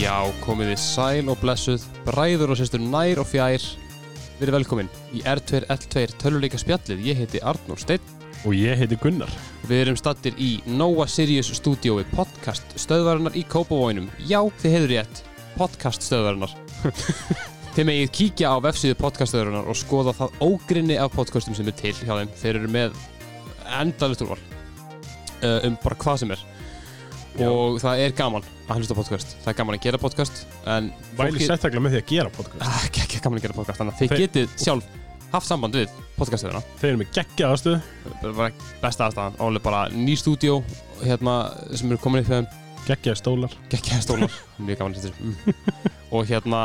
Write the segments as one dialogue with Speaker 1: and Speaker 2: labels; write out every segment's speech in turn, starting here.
Speaker 1: Já, komið þið sæl og blessuð, bræður og sýstur nær og fjær. Við erum velkomin í R2L2 töluleika spjallið. Ég heiti Arnór Steinn.
Speaker 2: Og ég heiti Gunnar.
Speaker 1: Við erum stattir í Nova Sirius stúdiói podcast stöðvarinnar í Kópavóinum. Já, þið hefur rétt, podcast stöðvarinnar. þið megið kíkja á vefsíðu podcast stöðvarinnar og skoða það ógrinni af podcastum sem er til hjá þeim. Þeir eru með endalist úrval uh, um bara hvað sem er. Og það er gaman að hlusta á podcast. Það er gaman að gera podcast, en
Speaker 2: Væli
Speaker 1: Fólki-
Speaker 2: sérstaklega með því að gera podcast.
Speaker 1: Ah, ekki, ekki gaman að gera podcast þannig að þið
Speaker 2: Þeir-
Speaker 1: getið sjálf haft samband við podcastöðuna
Speaker 2: Þeir eru með geggjaða stuð,
Speaker 1: bara bara besta aðstæðan álega bara ný stúdíó hérna, sem eru komin upp með
Speaker 2: geggjaða stólar.
Speaker 1: geggjaða stólar mjög gaman að þetta mm. og hérna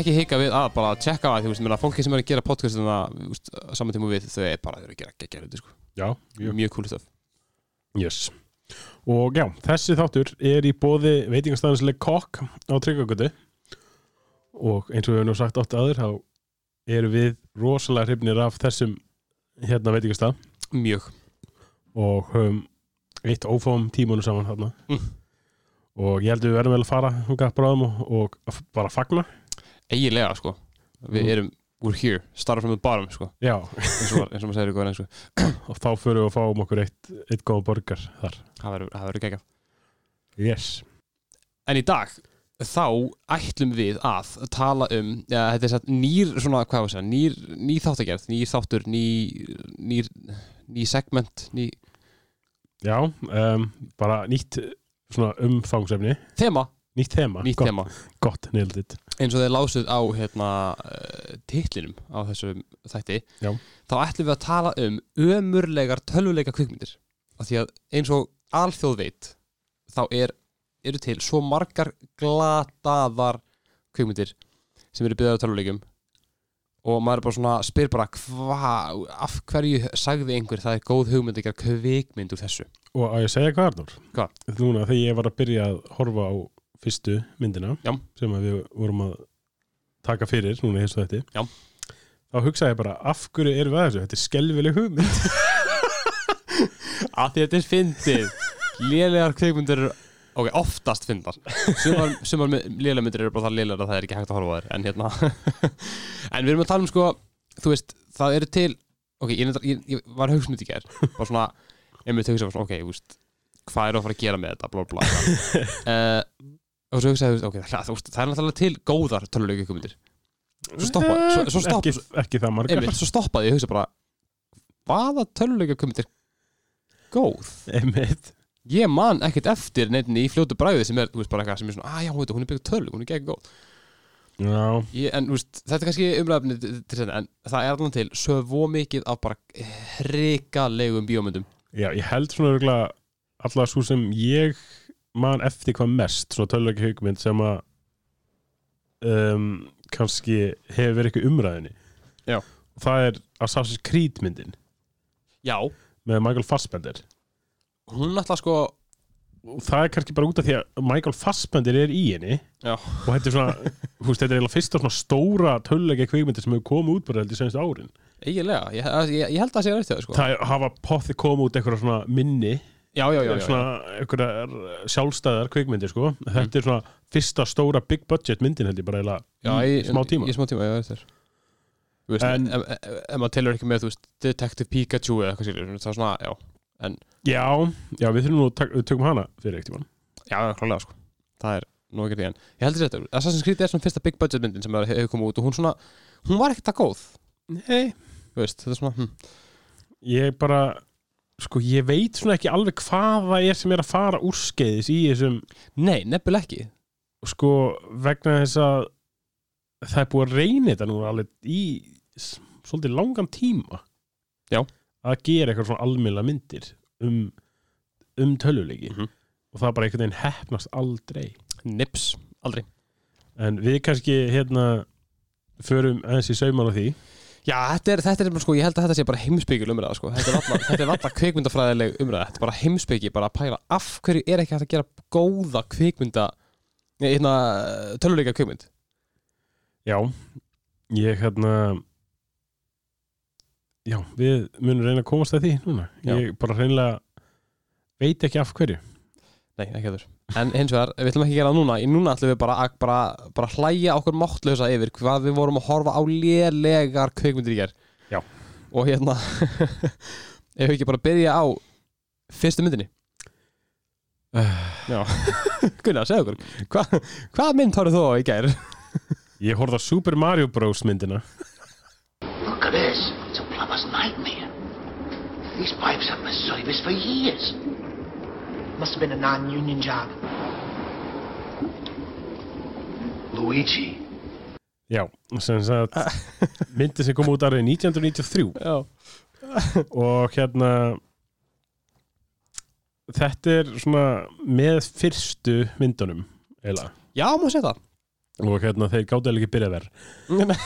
Speaker 1: ekki hika við að bara tjekka að því veist, ég meina, fólki sem eru að gera podcastöðuna veist, saman tíma við þau er bara þau eru að gera geggjaða hluti sko.
Speaker 2: Já, jú.
Speaker 1: mjög cool stöf
Speaker 2: Yes. Og já, þessi þáttur er í bóði veitingastæðanslega kokk á Tryggagötu. Og eins og við höfum nú sagt oft aður, þá erum við rosalega hrifnir af þessum hérna veitingastæð
Speaker 1: mjög
Speaker 2: og höfum eitt ófáum tímunum saman hérna.
Speaker 1: Mm.
Speaker 2: Og ég held að við verðum vel að fara hungað bráðum og, og bara fagna.
Speaker 1: eiginlega sko við
Speaker 2: Mm.
Speaker 1: erum we're here starra from the bottom sko
Speaker 2: Já,
Speaker 1: eins og, eins og maður segir ykkur eins og
Speaker 2: og þá förum við og fáum okkur eitt, eitt góða borgar þar.
Speaker 1: það verður- það verður geggjað
Speaker 2: Yes.
Speaker 1: En í dag þá ætlum við að tala um ja, þetta er satt nýr svona, hvað var það, nýr, nýr þáttagerð, nýr þáttur, ný, nýr, ný segment, ný
Speaker 2: Já, um, bara nýtt svona umfangsefni,
Speaker 1: þema,
Speaker 2: nýtt þema,
Speaker 1: nýtt
Speaker 2: gott,
Speaker 1: þema
Speaker 2: gott nýldið.
Speaker 1: eins og þeir lásuð á hérna, eh, titlinum á þessum þætti
Speaker 2: Já.
Speaker 1: þá ætlum við að tala um ömurlegar tölvuleika kvikmyndir af því að eins og alþjóð veit þá er, eru til svo margar glataðar kvikmyndir sem eru byggðar á tölvuleikum og maður er bara svona spyr bara hvað, af hverju sagði einhver það er góð hugmynd að gera kvikmynd úr þessu
Speaker 2: Og að ég segja hvað Arnur?
Speaker 1: Hvað?
Speaker 2: Núna þegar ég var að byrja að horfa á fyrstu myndina
Speaker 1: Já.
Speaker 2: sem að við vorum að taka fyrir núna hér svo þetta.
Speaker 1: Já.
Speaker 2: Þá hugsaði ég bara, af hverju erum við að þessu? Þetta er skelvileg hugmynd.
Speaker 1: að því að þetta er fyndið lélegar kveikmyndir eru ok, oftast fyndar sumar, sumar lélegar myndir eru bara það lélegar að það er ekki hægt að horfa á þær en hérna en við erum að tala um sko, þú veist það eru til, ok, ég, reyndar- ég, ég var haugsmynd í gær, bara svona einmitt hugsaði, bara svona, ok, þú veist, hvað er að fara að gera með þetta, blá, blá, blá uh, og svo hugsaði, þú veist, ok, það, það, það er náttúrulega til góðar töluleika kveikmyndir Svo stoppa- svo- svo stoppa-
Speaker 2: Ekki, ekki það margar.
Speaker 1: einmitt, svo stoppaði ég og hugsaði bara hvaða töluleika kveikmyndir góð
Speaker 2: Einmitt.
Speaker 1: ég man ekkert eftir neittni í fljótu bræði sem er, þú veist, bara eitthvað sem er svona, að já, veitu, hún er byggð törlu, hún er gegn góð
Speaker 2: Já,
Speaker 1: ég, en, þú veist, þetta er kannski umræðafni til þetta, en það er allan til svo mikið af bara hrikalegum bíómyndum,
Speaker 2: já, ég held svona örgulega allar svo sem ég man eftir hvað mest, svo tölvöki hugmynd sem að um, kannski hefur verið eitthvað umræðinni
Speaker 1: Já.
Speaker 2: og það er Assassin's Creed myndin
Speaker 1: já
Speaker 2: með Michael Fassbender
Speaker 1: hún alltaf sko,
Speaker 2: og það er kannski bara út af því að Michael Fassbender er í henni
Speaker 1: Já.
Speaker 2: og þetta er svona húst, þetta er eiginlega fyrsta svona stóra tölvöki kvikmyndir sem hefur komið út bara held í senstu árin
Speaker 1: eiginlega ég, ég, ég held að það sé rætt þau, sko
Speaker 2: það er- hafa potti komið út eitthvað svona minni
Speaker 1: já, já, já, já, já.
Speaker 2: svona einhverjar sjálfstæðar kvikmyndir sko. þetta er svona fyrsta stóra big budget myndin held ég bara eila
Speaker 1: já
Speaker 2: í smá tíma
Speaker 1: í smá tíma, já, þetta er þú veist, en,
Speaker 2: En-
Speaker 1: en, en, en maður telur ekki með, þú veist, Detective Pikachu eða eitthvað skilur, það er svona, já,
Speaker 2: já, já, við þurfum nú að tak- við tökum hana fyrir eitt tíma
Speaker 1: já, já, klálega, sko það er nú ekki því, en ég heldur þetta Assassin's Creed er svona fyrsta big budget myndin sem hefur komið út og hún svona, hún var ekkert að góð
Speaker 2: hey.
Speaker 1: Þú veist, þetta er svona hm.
Speaker 2: ég bara sko, ég veit svona ekki alveg hvað það er sem er að fara úrskeiðis í þessum
Speaker 1: Nei, nefnileg ekki
Speaker 2: sko, vegna þess að það er búið að reyna þetta nú alveg í s- svolítið langan tíma
Speaker 1: Já.
Speaker 2: að gera eitthvað svona almjöla myndir um, um töluleiki
Speaker 1: Mhm.
Speaker 2: og það bara einhvern veginn hefnast aldrei
Speaker 1: Nips, aldrei
Speaker 2: En við kannski hérna förum aðeins í sauman á því
Speaker 1: Já, þetta er, þetta er bara, sko, ég held að þetta sé bara heimsbyggil umræða sko. Þetta er valla- þetta er valla kvikmyndafræðileg umræða Þetta er bara heimsbyggi, bara að pæla Af hverju er ekki hægt að gera góða kvikmynda Nei, hérna, töluleika kvikmynd
Speaker 2: Já, ég hérna Já, við munum reyna að komast að því núna
Speaker 1: Já.
Speaker 2: Ég bara reynilega veit ekki af hverju
Speaker 1: Nei, ekki heldur En hins vegar, við ætlum ekki að gera það núna Í núna ætlum við bara að bara, bara hlæja okkur máttlösa yfir Hvað við vorum að horfa á lélegar kveikmyndir í ger
Speaker 2: Já.
Speaker 1: Og hérna Ef við ekki bara byrja á Fyrstu myndinni Já Gunnar, segðu okkur Hva, Hvað mynd horfðu þú á í ger?
Speaker 2: Ég horfði á Super Mario Bros. myndina
Speaker 3: Look at this. It's a plumber's nightmare. These pipes have been serviced for years.
Speaker 4: Must have been a non-union job.
Speaker 3: Luigi.
Speaker 2: Já, sem sagt myndi sem kom út árið 1993
Speaker 1: Já
Speaker 2: og hérna þetta er svona með fyrstu myndunum eiginlega.
Speaker 1: Já, má segja það
Speaker 2: og hérna þeir gáttu eiginlega ekki byrjað verð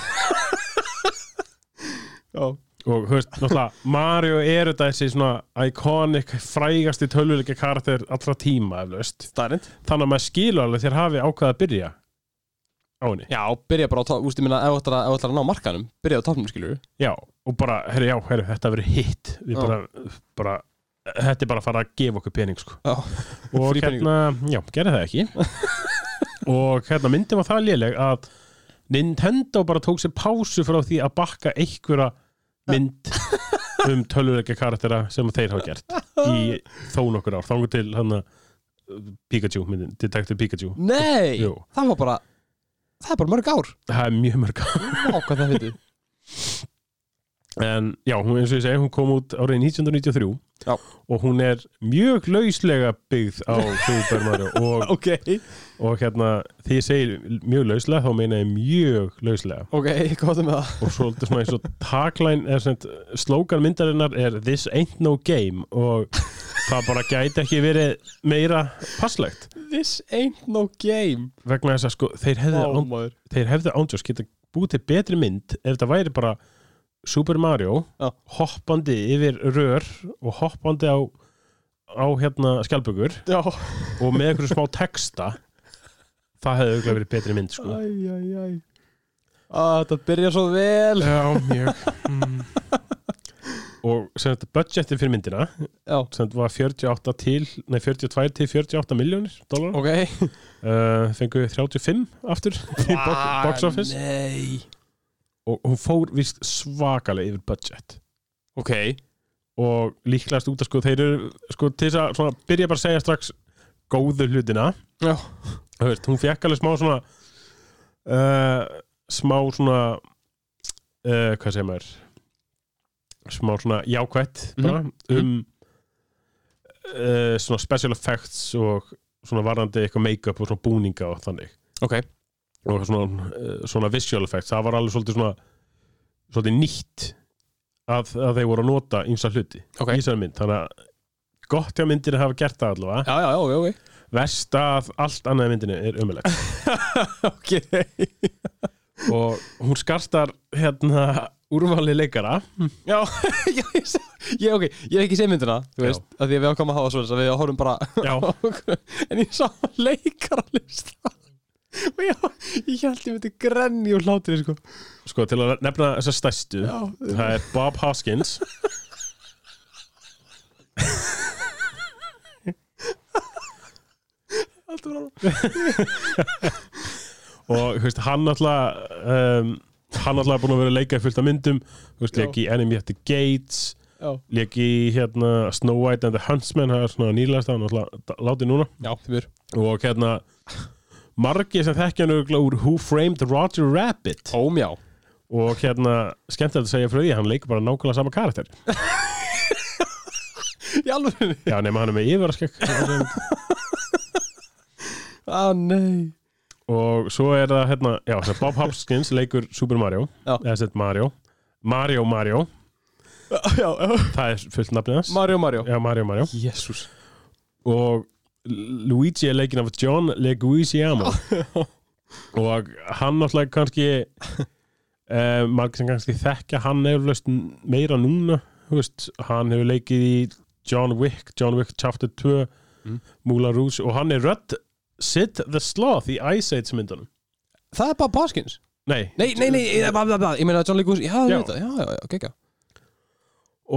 Speaker 1: Já
Speaker 2: og þú veist, náttúrulega Mario er þetta þessi svona iconic frægasti tölvuleika karakter allra tíma eflaust.
Speaker 1: Stærnind
Speaker 2: þannig að maður skilur alveg þegar hafi ákvað að byrja á henni
Speaker 1: Já, byrja bara á top Ústu minna, ef þú ætlar að- ef þú ætlar að ná markanum Byrja á topnum, skilur
Speaker 2: já, og bara, herri, já, herri, þetta verið hitt við
Speaker 1: Já.
Speaker 2: bara, bara þetta er bara að fara að gefa okkur pening sko.
Speaker 1: Já.
Speaker 2: og
Speaker 1: Frí peningur.
Speaker 2: hérna, já, gerði það ekki og hérna myndin var það léleg að Nintendo bara tók sér pásu frá því að bakka einhverja mynd um tölvuleika karaktera sem þeir hafa gert í þó nokkur ár, þangur til hann Pikachu myndin, Detective Pikachu
Speaker 1: Nei
Speaker 2: Jú.
Speaker 1: Það var bara Það er bara mörg ár
Speaker 2: það er mjög mörg ár.
Speaker 1: Vá, hvað það fyndi
Speaker 2: en já, hún, eins og ég segi, hún kom út árið 1993
Speaker 1: Já.
Speaker 2: og hún er mjög lauslega byggð á Super Mario og,
Speaker 1: Ok
Speaker 2: og hérna, því ég segi mjög lauslega, þá meina ég mjög lauslega
Speaker 1: Ok, hvað er með það?
Speaker 2: og svolítið svona eins og tagline er svona, slókan myndarinnar er This ain't no game og það bara gæti ekki verið meira passlegt
Speaker 1: This ain't no game
Speaker 2: vegna þess að sko, þeir hefðu, án,
Speaker 1: maður
Speaker 2: þeir hefðu ándjós geta búið til betri mynd ef þetta væri bara Super Mario
Speaker 1: Já.
Speaker 2: hoppandi yfir rör og hoppandi á, á hérna skjálpugur
Speaker 1: Já
Speaker 2: og með einhverju smá texta það hefði auðvitað verið betri mynd sko.
Speaker 1: Æj, æj, æj Það byrja svo vel
Speaker 2: Já, mjög Mm. Og sem þetta budgeti fyrir myndina
Speaker 1: Já
Speaker 2: sem þetta var 48 til nei 42 til 48 miljónir dólar
Speaker 1: Ok
Speaker 2: uh, fengu 35 aftur í box, box office
Speaker 1: Ah, Nei
Speaker 2: og hún fór vist svakalega yfir budget
Speaker 1: Ok
Speaker 2: og líklegast út að sko þeir eru sko til þess að svona byrja bara að segja strax góðu hlutina
Speaker 1: Já
Speaker 2: Þú veist, hún fekk alveg smá svona uh, smá svona uh, hvað segir maður smá svona jákvætt bara,
Speaker 1: Mhm.
Speaker 2: um uh, svona special effects og svona varandi eitthvað make-up og svona búninga og þannig
Speaker 1: Ok
Speaker 2: og svona, uh, svona visual effects það var alveg svolítið svona svolítið nýtt að, að þeir voru að nota ímsa hluti
Speaker 1: Ok.
Speaker 2: í þessari mynd þannig að gott hjá myndinu hafa gert það allavega
Speaker 1: Já, já, já, ok, ok
Speaker 2: verst að allt annað í myndinu er umjulegt
Speaker 1: Ok
Speaker 2: og hún skartar hérna úrvali leikara
Speaker 1: Já, já, ég, sé- ég, ok, ég hef ekki séð myndina, þú
Speaker 2: Já.
Speaker 1: veist, að því að við ákvæmum að hafa svona þess að við horfum bara á
Speaker 2: Já.
Speaker 1: okkur. en ég sá leikaralista og ég, ég held ég myndi grenni úr hlátir, sko.
Speaker 2: sko til að nefna þessa stæstu
Speaker 1: Já.
Speaker 2: það er Bob Hoskins
Speaker 1: Allt var alveg.
Speaker 2: og þú veist, hann alltaf um, hann alltaf búin að vera að leika í fullt af myndum þú veist,
Speaker 1: Já.
Speaker 2: leik í Enemy at the Gates
Speaker 1: Já,
Speaker 2: leik í hérna Snow White and the Huntsman það er svona nýlegast hann alltaf látið núna
Speaker 1: já, því mér.
Speaker 2: og hérna margir sem þekkja hann örugglega úr Who Framed Roger Rabbit
Speaker 1: Óm, já.
Speaker 2: og hérna skemmtilegt að segja frá því hann leikur bara nákvæmlega sama karakter
Speaker 1: Í alveg.
Speaker 2: Já, nema hann er með yfirraskegg
Speaker 1: Á, nei.
Speaker 2: og svo er það hérna, já, það er Bob Hopkins leikur Super Mario,
Speaker 1: Já.
Speaker 2: eða sett Mario Mario Mario,
Speaker 1: Já,
Speaker 2: það er fullt nafnið hans
Speaker 1: Mario, Mario.
Speaker 2: Já, Mario Mario
Speaker 1: Jésús.
Speaker 2: og Luigi er leikinn af John Leguizamo og hann náttúrulega kannski eh, margir sem kannski þekkja hann hefur löst meira núna þú veist, hann hefur leikið í John Wick, John Wick chapter 2
Speaker 1: Mm.
Speaker 2: Moulin Rouge og hann er rödd Sid the Sloth í Ice Age myndunum
Speaker 1: Það er bara Baskins.
Speaker 2: Nei,
Speaker 1: Nei, nei, nei, ég, bla, bla, bla, ég meina John Leguizamo, já,
Speaker 2: Já.
Speaker 1: ég veit það, já, já, já, gegga.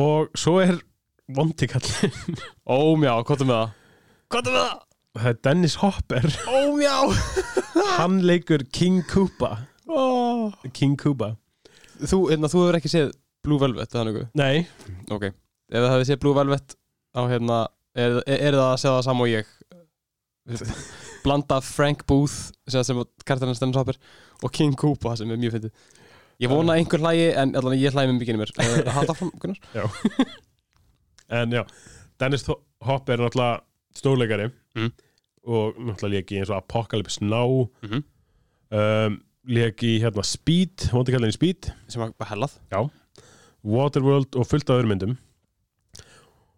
Speaker 2: og svo er vondikallin
Speaker 1: Óm, já, hvað er með það? Hvað er með það?
Speaker 2: það er Dennis Hopper
Speaker 1: Ó, já
Speaker 2: hann leikur King Koopa King Koopa
Speaker 1: Þú, hérna, þú hefur ekki séð Blue Velvet, eða nokkuð
Speaker 2: nei,
Speaker 1: Ok, ef það hefði séð Blue Velvet á hérna, er, er það að segja það saman og ég blanda Frank Booth sem, sem kartarinn Stennis Hopper og King Koopa sem er mjög fyndið Ég vona að einhver hlægi en allan ég hlægi með mikið mér Eh, Halda fram, Gunnar
Speaker 2: en já Dennis Tho- Hopper er náttúrulega stórleikari
Speaker 1: Mm.
Speaker 2: og náttúrulega leik í eins og Apocalypse Now
Speaker 1: Mhm.
Speaker 2: um, leik í hérna Speed, hóndi kallar henni Speed
Speaker 1: sem var bara hellað
Speaker 2: Waterworld og fullt af öðrum myndum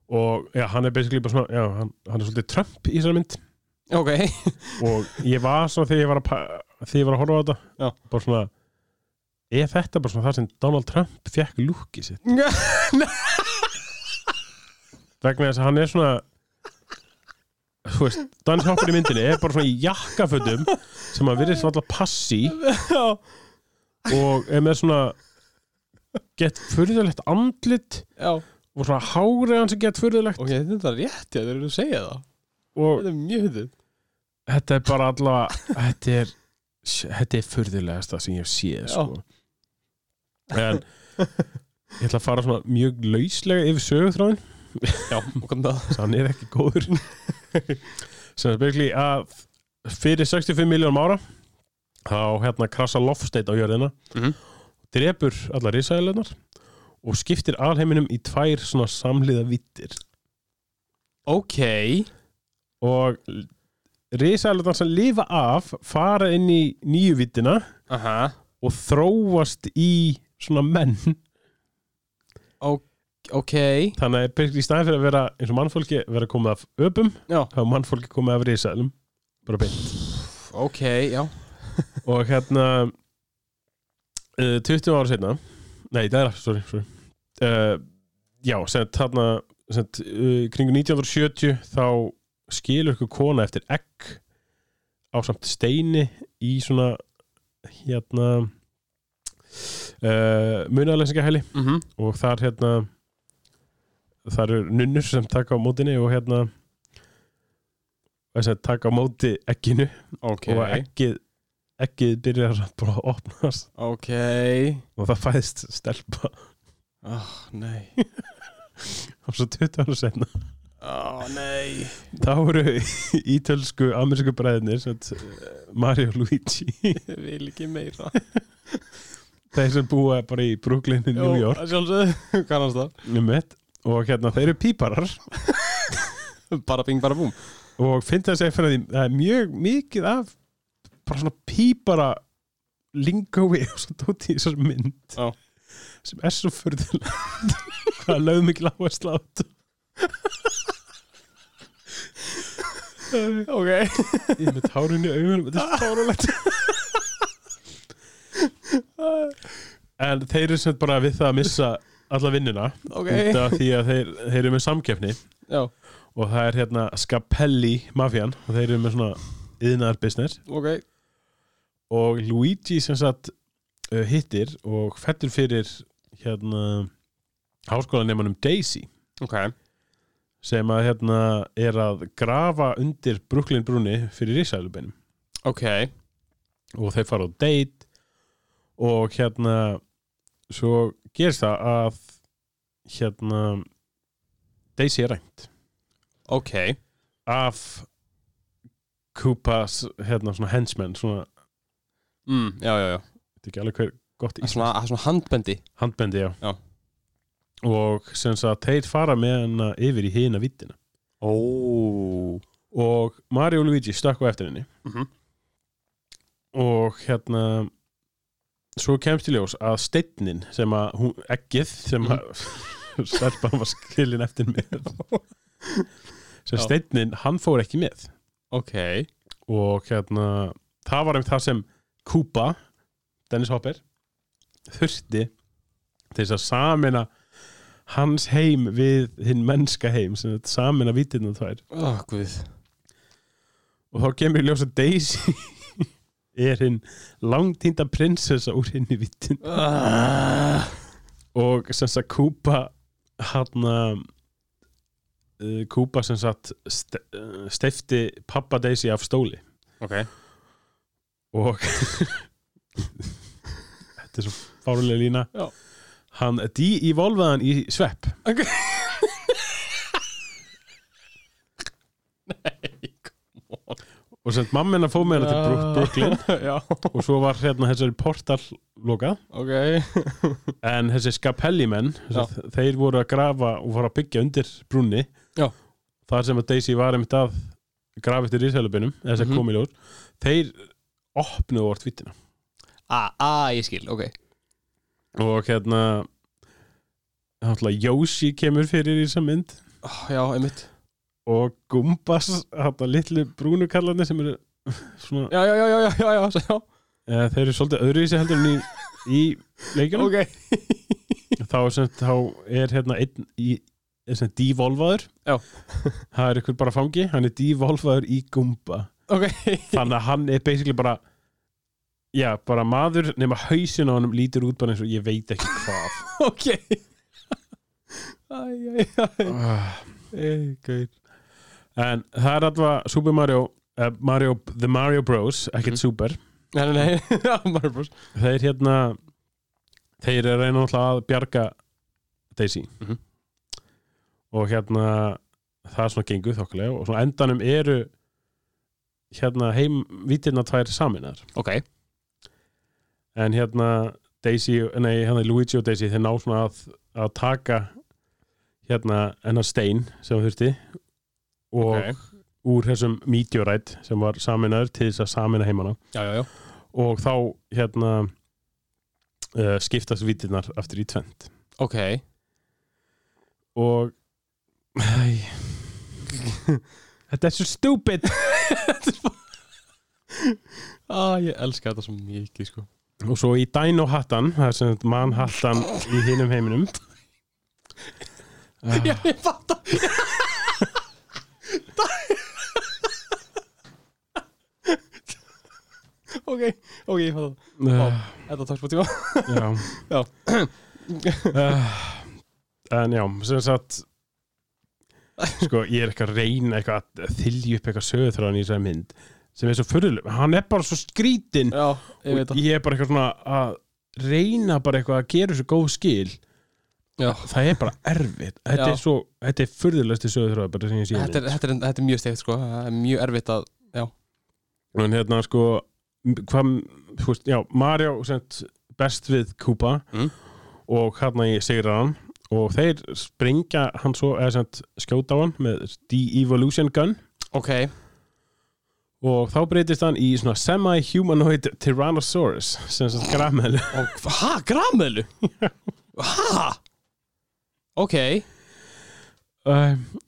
Speaker 2: og já, hann er basically bara svona, já, hann, hann er svolítið Trump í þessari mynd
Speaker 1: Ok,
Speaker 2: og ég var svona þegar ég var að, pa- þegar ég var að horfa á þetta
Speaker 1: Já.
Speaker 2: bara svona er þetta bara svona það sem Donald Trump fekk lúkið sitt vegna þess að hann er svona þú veist, Dennis Hopper í myndinni er bara svona í jakkafötum sem að virðist alltaf passi
Speaker 1: Já.
Speaker 2: og er með svona gett furðulegt andlit
Speaker 1: já
Speaker 2: og svona hárið hans er gett furðulegt
Speaker 1: Ok, þetta er rétt, ég þegar þú segja það
Speaker 2: og
Speaker 1: Þetta er mjög fyndið
Speaker 2: þetta er bara allavega þetta er, þetta er furðulegast það sem ég hef séð sko. en ég ætla að fara svona mjög lauslega yfir sögutráin
Speaker 1: Já, og kom það
Speaker 2: þannig hann er ekki góður sem er byggli að fyrir 65 miljónum ára þá hérna krasa loftsteit á jörðina
Speaker 1: Mhm.
Speaker 2: drepur allar risaðilegnar og skiptir alheiminum í tvær svona samliða vittir
Speaker 1: Ok
Speaker 2: og risaðilegnar sem lifa af fara inn í nýju vittina
Speaker 1: Aha
Speaker 2: og þróast í svona menn
Speaker 1: Ok
Speaker 2: þannig að basically í staðin fyrir að vera eins og mannfólki vera komið af öpum
Speaker 1: Já.
Speaker 2: þá er mannfólki komið af risaðlum bara beint
Speaker 1: Ok, já
Speaker 2: og hérna uh, 20 ára setna nei, það er aftur, sorry, sorry. Uh, já, sem sagt, þarna sem sagt, uh, kringu 1970 þá skilur ykkur kona eftir egg á samt steini í svona hérna uh, munaleysingahæli
Speaker 1: mm -hmm.
Speaker 2: og þar hérna þar eru nunnur sem taka á mótinni og hérna þess að taka á móti egginu
Speaker 1: Ok
Speaker 2: og eggið eggið byrjar bara að opnast
Speaker 1: Ok
Speaker 2: og það fæðist stelpa
Speaker 1: Oh, nei
Speaker 2: og svo 20 ára senna
Speaker 1: Ó, nei
Speaker 2: þá eru ítölsku amerísku bræðinir sem sagt, eh, Mario og Luigi
Speaker 1: Ég vil ekki meira
Speaker 2: þeir sem búa bara í Brooklyn í New York
Speaker 1: Sjálfsögðu, kannast það
Speaker 2: einmitt. og hérna þeir eru píparar
Speaker 1: Bara bing, bara búm
Speaker 2: og finn þess að fyrir því það er mjög mikið af bara svona pípara lingói og svo dóti í þessar mynd
Speaker 1: Já.
Speaker 2: sem er svo fyrðulega hvað lögð mikil áherslu á þetta
Speaker 1: Ok
Speaker 2: ég er með tárun í augunum þetta er svo tárulegt en þeir eru sem sagt bara við það að missa alla vinnuna
Speaker 1: Ok
Speaker 2: út af því að þeir, þeir eru með samkeppni
Speaker 1: Já,
Speaker 2: og það er hérna Scapelli mafian og þeir eru með svona yðnaðar business
Speaker 1: ok
Speaker 2: og Luigi sem sagt uh, hittir og fettur fyrir hérna háskólanemanum Daisy
Speaker 1: Ok
Speaker 2: sem að hérna er að grafa undir Brooklyn brúni fyrir risælubeinum
Speaker 1: Ok
Speaker 2: og þeir fara á date og hérna svo gerist það að hérna Daisy er rænt
Speaker 1: Ok
Speaker 2: af Koopas hérna svona henchman svona,
Speaker 1: mm, Já, já, já
Speaker 2: þetta er ekki alveg hver gott
Speaker 1: Það er svona, það er svona handbendi
Speaker 2: handbendi, já.
Speaker 1: Já.
Speaker 2: og sem sagt þeir fara með hana yfir í hina vittina
Speaker 1: Ó
Speaker 2: og Mario og Luigi stökku á eftir henni
Speaker 1: Mhm.
Speaker 2: og hérna svo kemst í ljós að steinin sem að hún, eggið sem
Speaker 1: Mhm.
Speaker 2: að stelpan var skilin eftir með sem
Speaker 1: Já.
Speaker 2: steinin, hann fór ekki með
Speaker 1: Ok
Speaker 2: og hérna það var einmitt það sem Kúpa Dennis Hopper þurfti til þess að samina hans heim við hinn mennska heim sem þetta samina vítirna tvær
Speaker 1: Ó, oh, guð
Speaker 2: og þá kemur í ljós að Daisy er hinn langtýnda prinsessa úr hinn í vítin
Speaker 1: ah.
Speaker 2: og sem þess að Kúpa hann uh, Kúpa hérna, sem satt ste, uh, steifti pappa Daisy af stóli
Speaker 1: Ok
Speaker 2: og þetta er svo fárulega lína
Speaker 1: Já.
Speaker 2: hann de-evolvaði hann í svepp og sent mamma hennar fóð með hennar til Brook- Brooklyn
Speaker 1: Já,
Speaker 2: og svo var hérna þessari portal lokað
Speaker 1: ok
Speaker 2: en þessi skapellimenn þessi, þeir voru að grafa og fara að byggja undir brúnni
Speaker 1: Já.
Speaker 2: þar sem að Daisy var einmitt að grafa eftir rísælubinum þess að
Speaker 1: Mhm.
Speaker 2: komi ljóð þeir opnuðu vort vittina
Speaker 1: A, a, Ah, ég skil, ok
Speaker 2: og hérna hérna Yoshi kemur fyrir í þessa mynd
Speaker 1: Já, einmitt
Speaker 2: og Gumbas hérna litlu brúnu kallarnir sem eru svona,
Speaker 1: Já, já, já, já, já, já, já, já.
Speaker 2: eh, þeir eru svolítið öðru í sig heldur en í, í leikjunum
Speaker 1: Ok
Speaker 2: þá, er sem, sagt- þá er hérna einn í er sem sagt devolvaður
Speaker 1: Já.
Speaker 2: það er ykkur bara fangi, hann er devolvaður í gumba
Speaker 1: Ok
Speaker 2: þannig að hann er basically bara já, bara maður nema hausin á honum lítur út bara eins og ég veit ekki hvað
Speaker 1: Ok Æ, æ, æ
Speaker 2: Ah,
Speaker 1: Æ, gæl
Speaker 2: en það er alltaf Super Mario, uh, Mario The Mario Bros, ekkert
Speaker 1: Mhm.
Speaker 2: Super
Speaker 1: Nei, nei, nei Já, maður brús
Speaker 2: þeir hérna þeir eru að reyna alltaf að bjarga Daisy
Speaker 1: Mhm.
Speaker 2: og hérna það er svona gengur þokkulega og svona endanum eru hérna heim vittirna tvær saminar
Speaker 1: Ok
Speaker 2: en hérna Daisy, nei hérna Luigi og Daisy þeir ná svona að, að taka hérna hennar stein sem það þurfti og
Speaker 1: Ok.
Speaker 2: úr þessum meteorite sem var saminaður til þess að samina heimana
Speaker 1: Já, já, já
Speaker 2: og þá hérna uh, skiptast vítirnar aftur í tvend
Speaker 1: Ok
Speaker 2: og æ, þetta er svo stúpid
Speaker 1: Æ, ég elska þetta svo mikið, sko
Speaker 2: og svo í Dino hattan það er sem sagt mannhattan í hinum heiminum
Speaker 1: Já, ég fatt að Ok, ok, ég fatt
Speaker 2: uh,
Speaker 1: að Þetta tókst búið tíma
Speaker 2: já,
Speaker 1: Já.
Speaker 2: uh, en já sem sagt sko ég er eitthvað að reyna eitthvað að þylja upp eitthvað sögutráðan í þessari mynd sem er svo fyrirlum, hann er bara svo skrítinn
Speaker 1: Já, ég veit
Speaker 2: og
Speaker 1: það
Speaker 2: ég er bara eitthvað svona að reyna bara eitthvað að gera þessu góð skil
Speaker 1: Já.
Speaker 2: það er bara erfitt þetta
Speaker 1: Já.
Speaker 2: er svo, þetta er furðulegsti sögurþráð bara sem ég sé í
Speaker 1: þetta er,
Speaker 2: mynd.
Speaker 1: þetta, er, þetta er mjög steikt, sko Það er mjög erfitt að
Speaker 2: en hérna sko hvað, þú veist, já, Mario sent best við Kúpa
Speaker 1: Mm.
Speaker 2: og hérna ég segir hann og þeir springa hann svo eða sent skjóta á hann með de-evolution gun
Speaker 1: Ok,
Speaker 2: og þá breytist hann í svona semi-humanoid Tyrannosaurus sem sent gramel
Speaker 1: og, ha, grameðlu Ha Ok,
Speaker 2: Æ,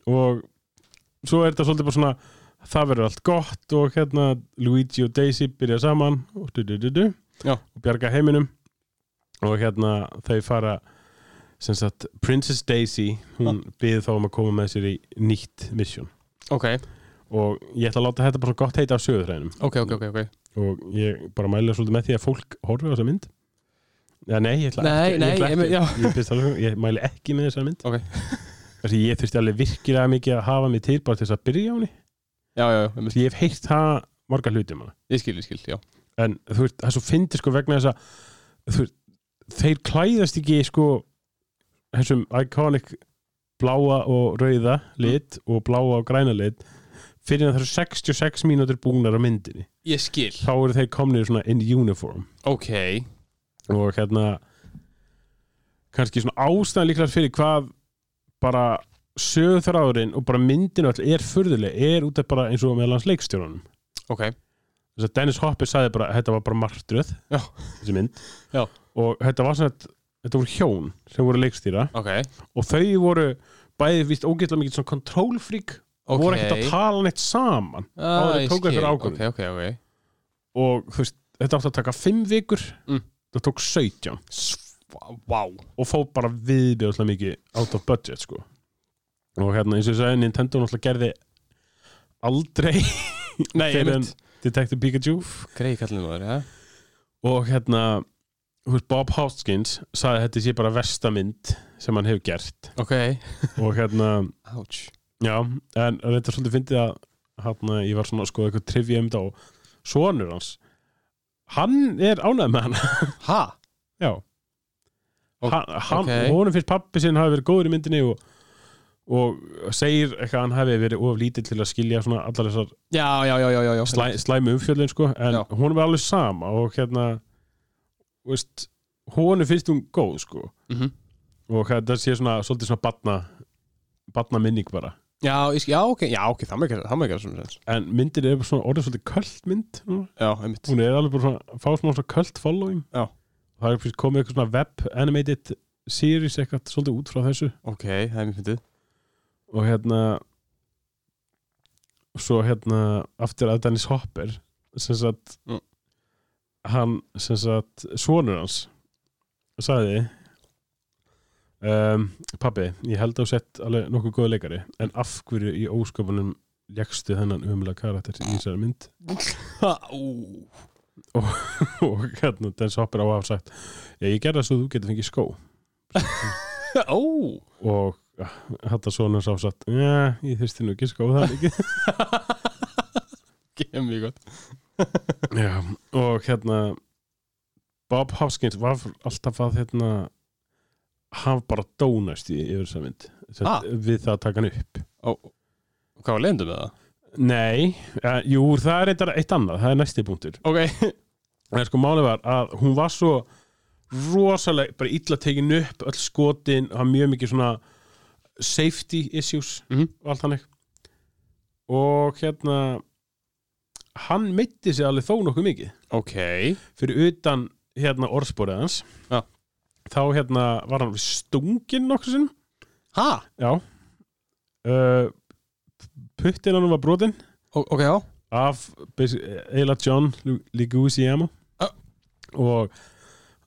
Speaker 2: og svo er þetta svolítið bara svona það verður allt gott og hérna Luigi og Daisy byrja saman og, du, du, du, du,
Speaker 1: Já.
Speaker 2: og bjarga heiminum og hérna þau fara sem sagt Princess Daisy hún ja. byrði þá um að koma með sér í nýtt mission
Speaker 1: ok,
Speaker 2: og ég ætla að láta þetta bara svona gott heita af sögurþrænum
Speaker 1: ok, ok, ok, ok
Speaker 2: og ég bara mæla svolítið með því að fólk horfi á þessa mynd Já, nei, ég ætla
Speaker 1: Nei,
Speaker 2: ekki,
Speaker 1: nei,
Speaker 2: ég, ætla
Speaker 1: einmitt, já.
Speaker 2: ekki ég, fyrst alveg, ég mæli ekki með þessa mynd
Speaker 1: Ok.
Speaker 2: Þessi, ég þurfti alveg virkilega mikið að hafa mig til bara til þess að byrja á henni
Speaker 1: Já, já, já, einmitt.
Speaker 2: Því ég hef heyrt það marga hluti um hana
Speaker 1: ég skil, ég skil, já
Speaker 2: en þú veist, það er svo fyndi sko vegna þess að þú veist, þeir klæðast ekki sko þessum iconic bláa og rauða lit og bláa og græna lit fyrir að það eru 66 mínútur búnar á myndinni
Speaker 1: Ég skil
Speaker 2: þá eru þeir komnir svona in uniform
Speaker 1: Ok,
Speaker 2: og hérna kannski svona ástæðan líklega fyrir hvað bara sögþráðurinn og bara myndin og all er furðuleg, er út af bara eins og meðal hans leikstjórunum
Speaker 1: ok,
Speaker 2: þess að Dennis Hopper sagði bara þetta var bara martröð
Speaker 1: Já.
Speaker 2: þessi mynd
Speaker 1: Já.
Speaker 2: og þetta var svona þetta voru hjón sem voru að leikstýra
Speaker 1: ok
Speaker 2: og þau voru bæði víst ógeðlega mikið svona kontrólfrík
Speaker 1: Ok.
Speaker 2: og voru ekkert að tala neitt saman áður en
Speaker 1: Æ,
Speaker 2: tóku
Speaker 1: skil.
Speaker 2: einhver ákvörðun.
Speaker 1: Ok, ok, ok
Speaker 2: og þú veist, þetta átti að taka fimm vikur
Speaker 1: Mm.
Speaker 2: það tók 17
Speaker 1: Sv- Vá
Speaker 2: og fó bara viðbjóðslega mikið out of budget sko og hérna eins og ég sagði Nintendo náttúrulega gerði aldrei
Speaker 1: Nei,
Speaker 2: fyrr en
Speaker 1: einmitt
Speaker 2: Detective Pikachu
Speaker 1: Greið kallinu maður, já
Speaker 2: og hérna þú veist, Bob Hoskins sagði að þetta sé bara versta mynd sem hann hefur gert
Speaker 1: Ok
Speaker 2: og hérna
Speaker 1: Ouch
Speaker 2: Já, en þetta er svolítið fyndið að hann, ég var svona að skoða eitthvað trivja um þetta og sonur hans hann er ánægð með hana
Speaker 1: Ha?
Speaker 2: Já
Speaker 1: Ok,
Speaker 2: hann, hann,
Speaker 1: ok.
Speaker 2: honum finnst pappi sinn hafi verið góður í myndinni og, og segir eitthvað að hann hafi verið of lítill til að skilja svona allar þessar
Speaker 1: Já, já, já, já, já, já.
Speaker 2: slæ, slæmi umfjöldin sko, en
Speaker 1: Já.
Speaker 2: honum er alveg sama og hérna veist, honum finnst hún góð sko
Speaker 1: Mhm.
Speaker 2: og þetta sé svona svolítið svona batna batna minning bara
Speaker 1: Já, ég, sk- já, ok, já, ok, það maður það maður ekki svona sens.
Speaker 2: en myndin er svona orðið svolítið köld mynd núna.
Speaker 1: Já, einmitt.
Speaker 2: hún er alveg bara svona, fá smá svona köld following
Speaker 1: Já.
Speaker 2: og það er pluss komið eitthvað svona web animated series eitthvað svolítið út frá þessu
Speaker 1: Ok, það er mjög fyndið.
Speaker 2: og hérna svo hérna aftur að Dennis Hopper sem sagt
Speaker 1: Mm.
Speaker 2: hann sem sagt sonur hans sagði um, pabbi, ég held að þú sett alveg nokkuð góð leikari, en af hverju í ósköpunum leggstu þennan umlega karakter í þessari mynd
Speaker 1: Ha, ú.
Speaker 2: og hérna Dennis Hopper á að hafa sagt já, ég gerði það svo þú getur fengið skó
Speaker 1: Ó.
Speaker 2: og ah, þetta svona sá satt já, ég þyrsti nú ekki skó það ekki
Speaker 1: Geðum mjög gott.
Speaker 2: já, og hérna Bob Hoskins var alltaf að hérna hann bara dónast í yfir þessa mynd Sett,
Speaker 1: Ah.
Speaker 2: við það að taka hann upp
Speaker 1: Ó. Hvað var leyndum með það?
Speaker 2: nei, ja, jú, það er eitthvað eitt annað það er næsti punktur
Speaker 1: Ok.
Speaker 2: en sko málið var að hún var svo rosalega, bara illa tekin upp öll skotin, það var mjög mikið svona safety issues
Speaker 1: Mhm.
Speaker 2: og allt hann og hérna hann meitti sig alveg þó nokkuð mikið
Speaker 1: Ok.
Speaker 2: fyrir utan hérna orðspórið hans
Speaker 1: Já.
Speaker 2: þá hérna var hann stungin nokkuð sinn
Speaker 1: Ha?
Speaker 2: já uh, puttin hann var brotin
Speaker 1: O ok, já.
Speaker 2: af basi- eiginlega John Lu- Leguizamo
Speaker 1: Ah.
Speaker 2: og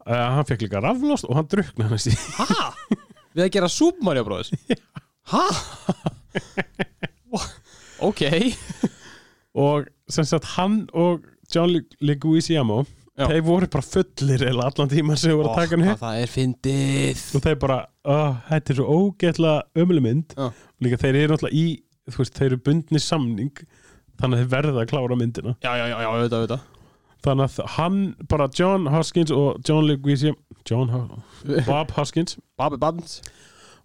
Speaker 2: uh, hann fekk líka raflost og hann drukna hann
Speaker 1: Ha? Við að gera Super Mario Bros. Ha? Wha- ok.
Speaker 2: og sem sagt hann og John Lu- Leguizamo
Speaker 1: Já.
Speaker 2: þeir voru bara fullir eða allan tíma sem þeir voru að taka hann
Speaker 1: Ó,
Speaker 2: upp
Speaker 1: Oh, Það er fyndið.
Speaker 2: og þeir bara, oh, þetta er svo ógeðlega ömuleg mynd
Speaker 1: Já.
Speaker 2: líka þeir eru náttúrulega í þú veist, þeir eru bundni samning þannig að þeir verða að klára myndina
Speaker 1: Já, já, já, já, auðvitað, auðvitað.
Speaker 2: þannig að hann, bara John Hoskins og John Leguizamo John Ho Bob Hoskins
Speaker 1: Babi Babins.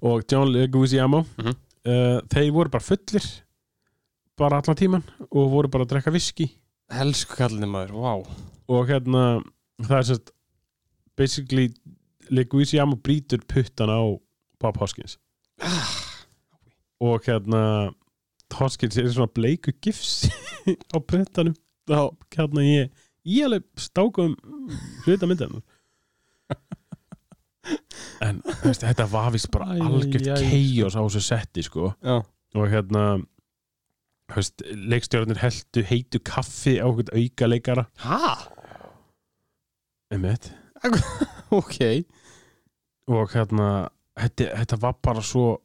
Speaker 2: og John Leguizamo
Speaker 1: Mhm.
Speaker 2: uh, þeir voru bara fullir bara allan tíman og voru bara að drekka viski
Speaker 1: Helsku kallinni maður, vá. Wow.
Speaker 2: og hérna það er sérst basically Leguizamo brýtur puttan á Bob Hoskins og hérna Hoskins er svona bleiku gifs á puttanum þá hérna ég ég alveg stákum hluta myndan en þú veist, þetta var vist bara
Speaker 1: Æ,
Speaker 2: algjört
Speaker 1: æ.
Speaker 2: keios á þessu setti sko
Speaker 1: Já.
Speaker 2: og hérna þú veist, leikstjórnir heldu heitu kaffi á okkur auka leikara
Speaker 1: Ha?
Speaker 2: einmitt.
Speaker 1: Ok.
Speaker 2: og hérna þetta, þetta var bara svo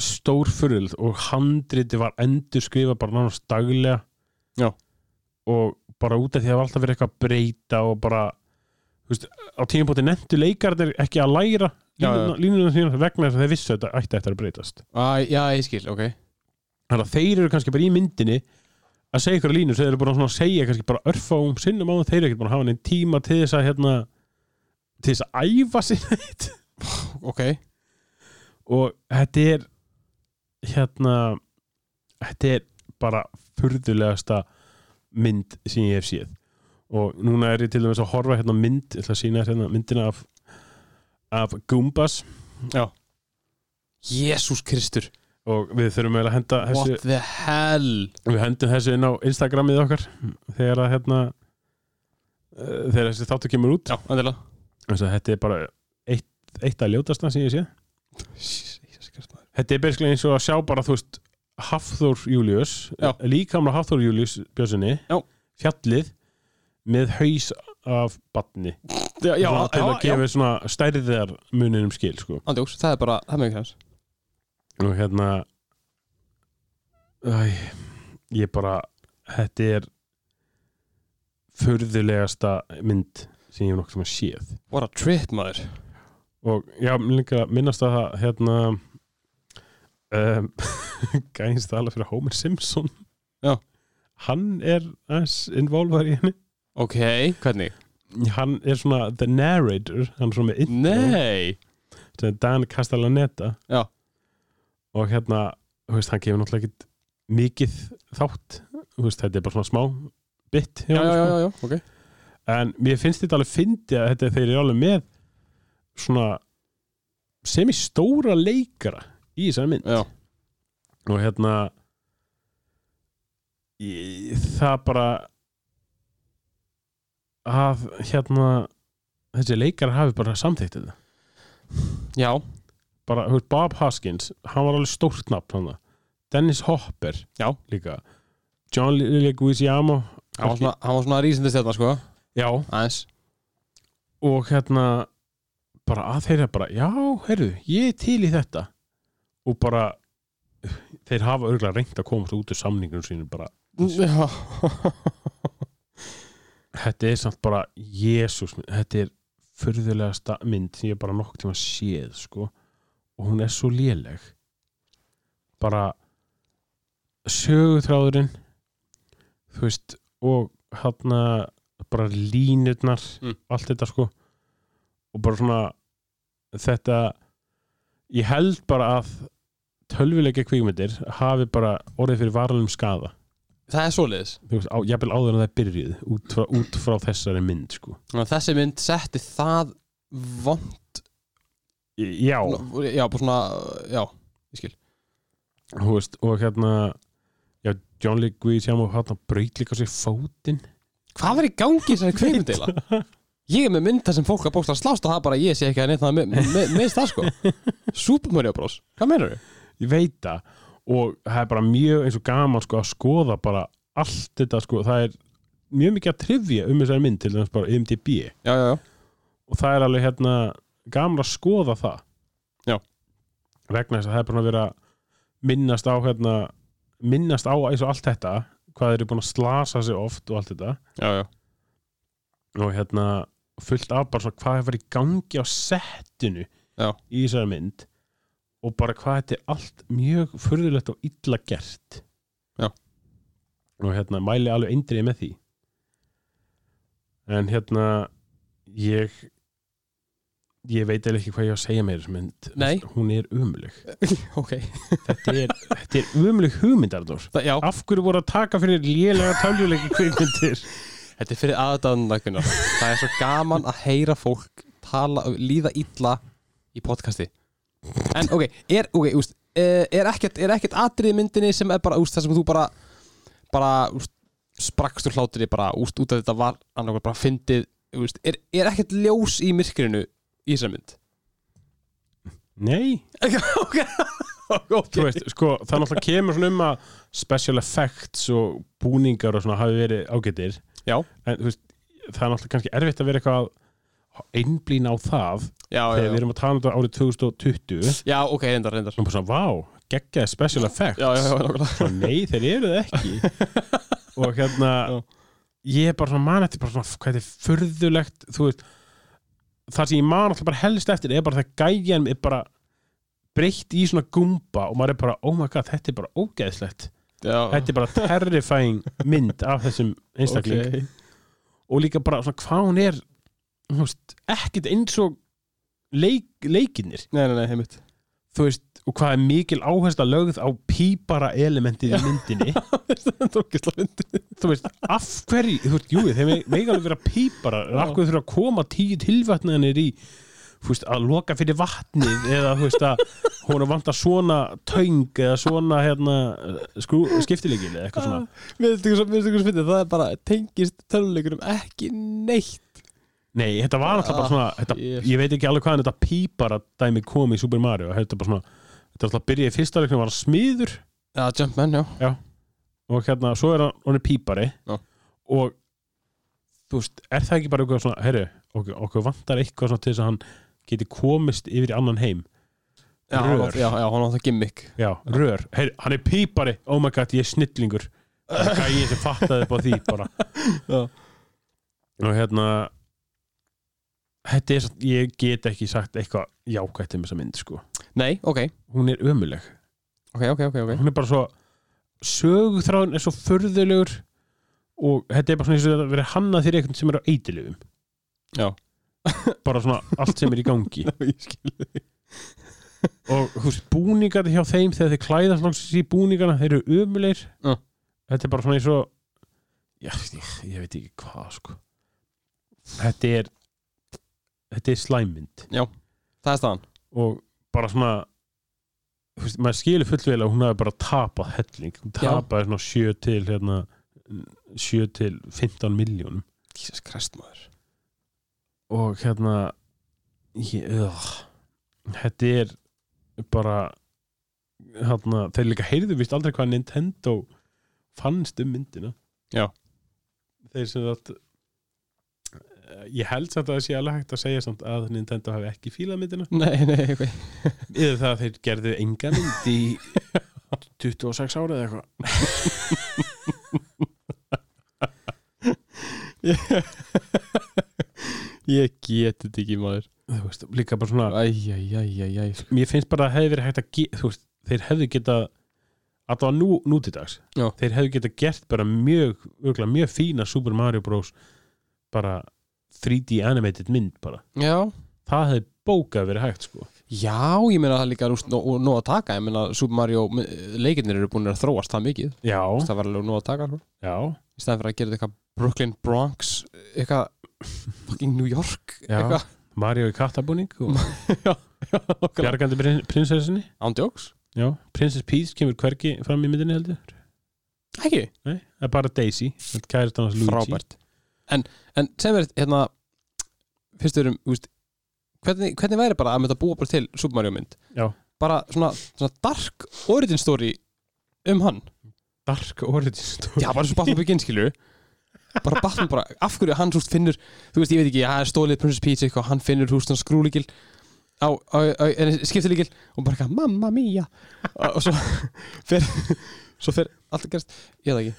Speaker 2: stórfuril og handriti var endur skrifa bara nánast daglega
Speaker 1: Já.
Speaker 2: og bara út af því að það var alltaf verið eitthvað að breyta og bara þú veist, á tímpóti nefndu leikarnir ekki að læra
Speaker 1: Já, já.
Speaker 2: línuna- línuna sína vegna þess að þeir vissu að þetta ætti eftir að breytast
Speaker 1: Æ, já, ég skil, ok.
Speaker 2: þannig að þeir eru kannski bara í myndinni að segja ykkur línur, þeir eru bara svona að segja kannski bara örfáum sinnum á það, þeir eru ekkert bara að hafa neinn tíma til þess að hérna til þess að æfa sér neitt
Speaker 1: Ok.
Speaker 2: og þetta er hérna þetta er bara furðulegasta mynd sem ég hef séð og núna er ég til dæmis að horfa hérna á mynd, ég ætla að sína hérna myndina af, af Goombas
Speaker 1: Jésús Kristur.
Speaker 2: og við þurfum eiginlega að henda þessu
Speaker 1: What the hell?
Speaker 2: við hendum þessu inn á Instagramið okkar þegar að hérna eh, þegar þessi þáttu kemur út
Speaker 1: Já, endilega.
Speaker 2: þess að þetta er bara eitt, eitt að ljótasta sem ég sé
Speaker 1: Jésús Kristur.
Speaker 2: þetta er basically eins og að sjá bara þú veist Hafþór Július
Speaker 1: Já.
Speaker 2: líkamla Hafþór Július Björnssoni
Speaker 1: Já.
Speaker 2: fjallið með haus af batni
Speaker 1: Já, já,
Speaker 2: Svona til að
Speaker 1: já, já.
Speaker 2: gefa svona stærðar muninum skil sko.
Speaker 1: Andjóks, það er bara, það með ekki hans.
Speaker 2: og hérna æ, ég bara þetta er furðulegasta mynd sem ég hef nokkuð sem að séð
Speaker 1: What a trip maður.
Speaker 2: og já, mér líka minnast að það hérna um, gæðins tala fyrir Homer Simpson
Speaker 1: Já.
Speaker 2: hann er aðeins involvar í henni
Speaker 1: Ok, hvernig?
Speaker 2: hann er svona the narrator hann er svona með intro
Speaker 1: Nei
Speaker 2: sem er Dan Castellaneta
Speaker 1: Já.
Speaker 2: og hérna, þú veist, hann gefur náttúrulega ekkit mikið þátt Þú veist, þetta er bara svona smá bit hjá
Speaker 1: Já,
Speaker 2: honum,
Speaker 1: já,
Speaker 2: sko.
Speaker 1: já, já, ok
Speaker 2: en mér finnst þetta alveg fyndi að þetta, þeir eru alveg með svona semistóra leikara í þessari mynd
Speaker 1: Já,
Speaker 2: og hérna ég, það bara að hérna þessi leikara hafi bara samþýtt þetta
Speaker 1: já,
Speaker 2: bara, þú veist, Bob Hoskins hann var alveg stórt nafn hann Dennis Hopper
Speaker 1: Já.
Speaker 2: líka John Leguizamo
Speaker 1: hann var svona, hann var svona rísindastjarnar, sko
Speaker 2: já,
Speaker 1: Aðeins
Speaker 2: og hérna bara að þeirra bara, já, heyrðu ég er til í þetta og bara, þeir hafa örgulega reynt að komast út úr samningunum sínum bara,
Speaker 1: Já,
Speaker 2: þetta er samt bara Jésús, þetta er furðulegasta mynd sem ég bara nokk tíma séð sko, og hún er svo léleg bara sögutráðurinn þú veist og hérna bara línurnar
Speaker 1: Mm.
Speaker 2: allt þetta sko og bara svona þetta ég held bara að tölvilegja kvíkmyndir hafi bara orðið fyrir varalum skada
Speaker 1: það er svoleiðis
Speaker 2: þú veist, á, jafnvel áður en það byrjuð út frá, út frá þessari mynd sko.
Speaker 1: Þannig að Þessi mynd setti það vond
Speaker 2: Í- já,
Speaker 1: Já, bara svona, já, ég skil
Speaker 2: þú veist, og hérna já, John Leguizamo hérna braut líka sér fótinn
Speaker 1: Hvað var í gangi í þessari kveimundela? Ég er með mynd þar sem fólk að bókstala slást og það bara að ég sé ekki að neitt það með, með, meðst það sko Super Mario Bros, hvað meinar þau?
Speaker 2: ég veit það, og það er bara mjög eins og gaman sko að skoða bara allt þetta sko, það er mjög mikið að trivja um þessari mynd til þess bara IMDb
Speaker 1: Já, já, já,
Speaker 2: og það er alveg hérna gaman að skoða það
Speaker 1: Já.
Speaker 2: vegna þess að það er búin að vera minnast á hérna minnast á eins og allt þetta hvað þeir eru búin að slasa sig oft og allt þetta
Speaker 1: já, já.
Speaker 2: og hérna fullt af bara svona hvað hefur í gangi á settinu
Speaker 1: Já.
Speaker 2: í þessari mynd og bara hvað þetta er allt mjög furðulegt og illa gert
Speaker 1: Já.
Speaker 2: og hérna mæli alveg eindrið með því en hérna ég ég veit eða ekki hvað ég á að segja með þessari mynd
Speaker 1: Nei.
Speaker 2: hún er umlug
Speaker 1: Ok,
Speaker 2: þetta er, þetta er umlug hugmynd Arnór
Speaker 1: það, já,
Speaker 2: af hverju voru að taka fyrir lélega táljuleiki kvikmyndir
Speaker 1: Þetta er fyrir aðdæðandakunar Það er svo gaman að heyra fólk tala, líða illa í podcasti En ok, er, okay úst, eh, er ekkert, er ekkert atrið í myndinni sem er bara úst, það sem þú bara, bara úst, sprakkst úr hlátri bara úst, út af þetta var annarkoð bara fyndið úst, er, er ekkert ljós í myrkrinu í þessari mynd
Speaker 2: nei
Speaker 1: Ok, ok
Speaker 2: þú veist, sko, það náttúrulega kemur svona um að special effects og búningar og svona hafi verið ágætir
Speaker 1: Já,
Speaker 2: en þú veist, það er náttúrulega kannski erfitt að vera eitthvað að einblína á það
Speaker 1: já,
Speaker 2: þegar við
Speaker 1: já, já.
Speaker 2: erum að tala um þetta árið 2020
Speaker 1: já ok, reyndar, reyndar Já,
Speaker 2: og bara svona, vá, geggjaði special effects
Speaker 1: já, já, nákvæmlega
Speaker 2: Svo, nei, þeir eru það ekki og hérna
Speaker 1: Já.
Speaker 2: ég er bara svona man eftir bara svona, hvað þetta er furðulegt þú veist, það sem ég man alltaf bara helst eftir er bara það gæjan er bara breytt í svona gumba og maður er bara, oh my god, þetta er bara ógeðslegt
Speaker 1: Já,
Speaker 2: þetta er bara terrifying mynd af þessum einstakling
Speaker 1: ok.
Speaker 2: og líka bara svona hvað hún er þú veist, ekkert eins og leik, leikinir
Speaker 1: Nei, nei, nei, heimitt
Speaker 2: þú veist, og hvað er mikil áhersla lögð á pípara elementið í myndinni
Speaker 1: Þetta er okkislega fyndið
Speaker 2: þú veist, af hverju þú veist, jú, þeir meg- mega alveg vera pípara en af hverju þurfa að koma tíu tilvætnaðanir í þú veist, að loka fyrir vatnið eða þú veist að hún er vant að svona töng eða svona hérna, skrú, skiptilegil eða eitthvað svona
Speaker 1: Ah, Mér finnst ykkur svo- mér finnst ykkur svo fyndið, það er bara tengist töluleikurum ekki neitt
Speaker 2: Nei, þetta var alltaf bara svona
Speaker 1: Ah,
Speaker 2: þetta,
Speaker 1: Jesus.
Speaker 2: ég veit ekki alveg hvaðan þetta pípara dæmi kom í Super Mario þetta bara svona, þetta alltaf byrjaði í fyrsta leiknum var hann smiður
Speaker 1: Já, Jumpman, já
Speaker 2: og hérna, svo er hann, hann er pípari
Speaker 1: Já.
Speaker 2: og þú veist, er það ekki bara eitthvað svona, herru okkur, okkur vantar eitthvað svona til þess að hann geti komist yfir í annan heim
Speaker 1: Já, hann
Speaker 2: Rör.
Speaker 1: átti- já, já, hann átti gimmick
Speaker 2: já, rör, herru, hann er pípari oh my god, ég er snillingur gæði sem fattaði upp á því bara
Speaker 1: Já.
Speaker 2: og hérna þetta er, samt- ég get ekki sagt eitthvað jákvætt um þessa mynd sko
Speaker 1: Nei, ok,
Speaker 2: hún er ömuleg
Speaker 1: ok ok, ok, ok, ok
Speaker 2: hún er bara svo sögþráðun er svo furðulegur og þetta er bara svona eins og þetta verið hannað fyrir einhvern sem er á eitilöfum
Speaker 1: Já.
Speaker 2: bara svona allt sem er í gangi
Speaker 1: ég skil
Speaker 2: og þú veist, búningarnir hjá þeim þegar þeir klæðast loksins í búningarna, þeir eru umulir
Speaker 1: Já.
Speaker 2: þetta er bara svona eins og já, ég, ég veit ekki hvað sko. þetta er þetta er slæmynd
Speaker 1: Það er staðan
Speaker 2: og bara svona þú veist, maður skilur fullvel að hún hafi bara tapað helling, hún
Speaker 1: Já.
Speaker 2: tapaði svona 7 til hérna 7 til 15 miljónum
Speaker 1: Jesus Christ maður
Speaker 2: og hérna ég, ugh, þetta er bara hérna, þeir líka heyrðu vist aldrei hvað Nintendo fannst um myndina
Speaker 1: Já.
Speaker 2: þeir sem þetta ég held samt að það sé alveg hægt að segja samt að Nintendo hafi ekki fílað myndina
Speaker 1: Nei, nei, ok
Speaker 2: yfir það að þeir gerðu enga mynd í 26 ára eða eitthvað
Speaker 1: Ég get þetta ekki maður
Speaker 2: þú veist, líka bara svona
Speaker 1: Æjæjæjæjæ
Speaker 2: mér finnst bara að hefði verið hægt að ge, þú veist, þeir hefði geta allavega nú, nú til dags
Speaker 1: Já.
Speaker 2: þeir hefði geta gert bara mjög örgulega, mjög fína Super Mario Bros bara 3D animated mynd bara,
Speaker 1: Já
Speaker 2: það hefði bókað verið hægt sko,
Speaker 1: Já, ég meina það er líka rúst nóg nóg að taka Ég meina Super Mario leikirnir eru búin að þróast það mikið
Speaker 2: já,
Speaker 1: Það var alveg nóg að taka sko.
Speaker 2: já
Speaker 1: Í stæðan fyrir að gera þetta eitthvað Brooklyn, Bronx Eitthvað fucking New York
Speaker 2: Já.
Speaker 1: Eitthvað
Speaker 2: Mario í kattabúning og
Speaker 1: Nákvæmlega.
Speaker 2: bjargandi prin, prinsessinni
Speaker 1: Án djóks
Speaker 2: já, Princess Peach kemur hvergi fram í myndinni heldur,
Speaker 1: Ekki
Speaker 2: nei, það er bara Daisy kærist annars Luigi
Speaker 1: Frábært En, en sem er hérna Fyrst við erum, þú veist Hvernig, hvernig væri bara að mynda búa bara til Super Mario mynd
Speaker 2: Já.
Speaker 1: Bara svona, svona dark origin story Um hann
Speaker 2: Dark Origin Story
Speaker 1: Já, bara svo Batman Begins, skilur Bara Batman, bara, af hverju hann húst finnur Þú veist, ég veit ekki, hann er stólið Princess Peach eitthvað Hann finnur húst hann skrúlíkil á, á, á, á skiptilíkil og bara eitthvað, mamma mia og, og svo fer svo fer allt að gerst, ég veit það ekki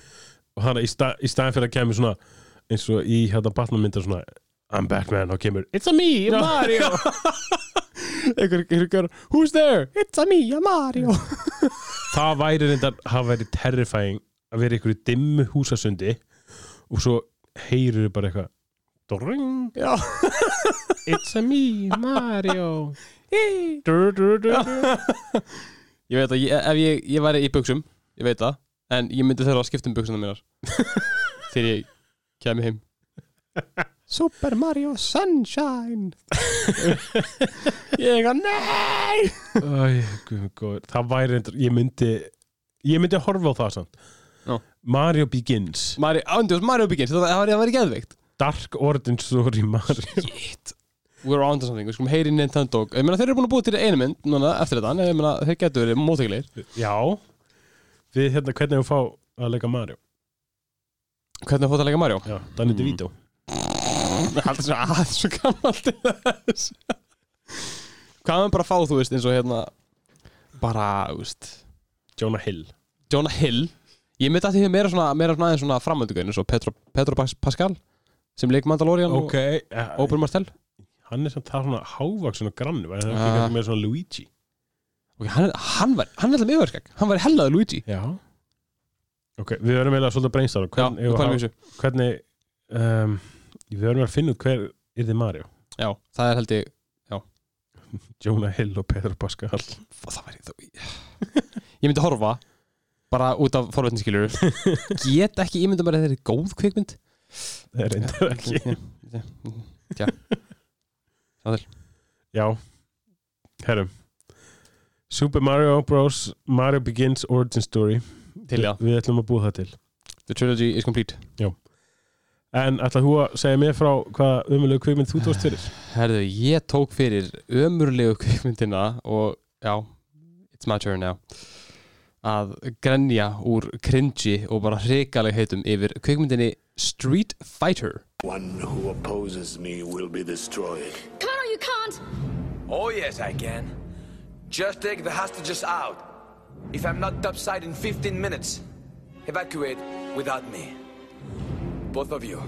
Speaker 2: og þannig að í, stað, í staðin fyrir að kemur svona eins og í hérna Batman myndar svona I'm Batman og kemur It's a me, Mario
Speaker 1: einhver, einhver, einhver, who's there? It's a Mia Mario
Speaker 2: það væri reyndar, það væri terrifying að vera í einhverju dimmu húsasundi og svo heyrir bara eitthvað Dorring,
Speaker 1: Já,
Speaker 2: it's a me, Mario
Speaker 1: hei
Speaker 2: dur, dur, dur, dur.
Speaker 1: Ég veit að, ég, ef ég, ég væri í buksum ég veit það, en ég myndi þurfa að skipta um buksuna mínar þegar ég kemi heim Super Mario Sunshine Ég eitthvað, nei
Speaker 2: Æ, guð minn góður. það væri reyndar, ég myndi ég myndi að horfa á það samt
Speaker 1: Já.
Speaker 2: Mario Begins
Speaker 1: Mario, ándjós, Mario Begins, það var, það var ekki eðveikt
Speaker 2: Dark Origin Story Mario
Speaker 1: Shit We're on to something, við skulum heyri Nintendo Ég meina þeir eru búin að búa til einu mynd núna, eftir þetta, en ég meina þeir getur verið mótækilegir
Speaker 2: Já Við hérna, hvernig við fá að leika Mario
Speaker 1: Hvernig fótt að leika Mario?
Speaker 2: Já, Danny
Speaker 1: Mm.
Speaker 2: DeVito
Speaker 1: Alltaf svo aðeins svo gammalt til þess Hvað er bara að fá, þú veist, eins og hérna Bara, þú veist
Speaker 2: Jonah Hill
Speaker 1: Jonah Hill Ég myndi að því meira svona, meira svona aðeins svona framöndugöðin eins og Petro, Petro Pas- Pascal sem leik Mandalorian og
Speaker 2: Óper-
Speaker 1: Oprah Martell
Speaker 2: Hann er samt það svona hávaksin og grannu Það er
Speaker 1: Ah.
Speaker 2: ekki með svona Luigi
Speaker 1: okay, hann, hann var, hann er alltaf meðverskak hann var hellaði Luigi
Speaker 2: Já Ok, við verðum eiginlega svolítið að brainstára
Speaker 1: Já, við pælum í þessu.
Speaker 2: Hvernig um, Við verðum að finna út hver er þið Mario
Speaker 1: Já, það er held ég
Speaker 2: Jonah Hill og Pedro Pascal
Speaker 1: það væri þó Ég myndi horfa bara út af forvetninskilur get ekki ímynda mér að þeir eru góð kvikmynd
Speaker 2: Það er reyndar ekki
Speaker 1: Já,
Speaker 2: Já, herrum Super Mario Bros Mario Begins Origin Story
Speaker 1: Til já,
Speaker 2: Við ætlum að búa það til
Speaker 1: the trilogy is complete
Speaker 2: En ætla þú að segja mér frá hvaða umulegu kvikmynd þú tókst fyrir?
Speaker 1: Herðu, ég tók fyrir ömurlegu kvikmyndina og já, it's my turn now að grenja úr cringy og bara hrikaleg heitum yfir kvikmyndinni Street Fighter
Speaker 5: One who opposes me will be destroyed.
Speaker 6: Come on, you can't!
Speaker 7: Oh, yes, I can. Just take the hostages out. If I'm not topside in 15 minutes, evacuate without me. Both of you.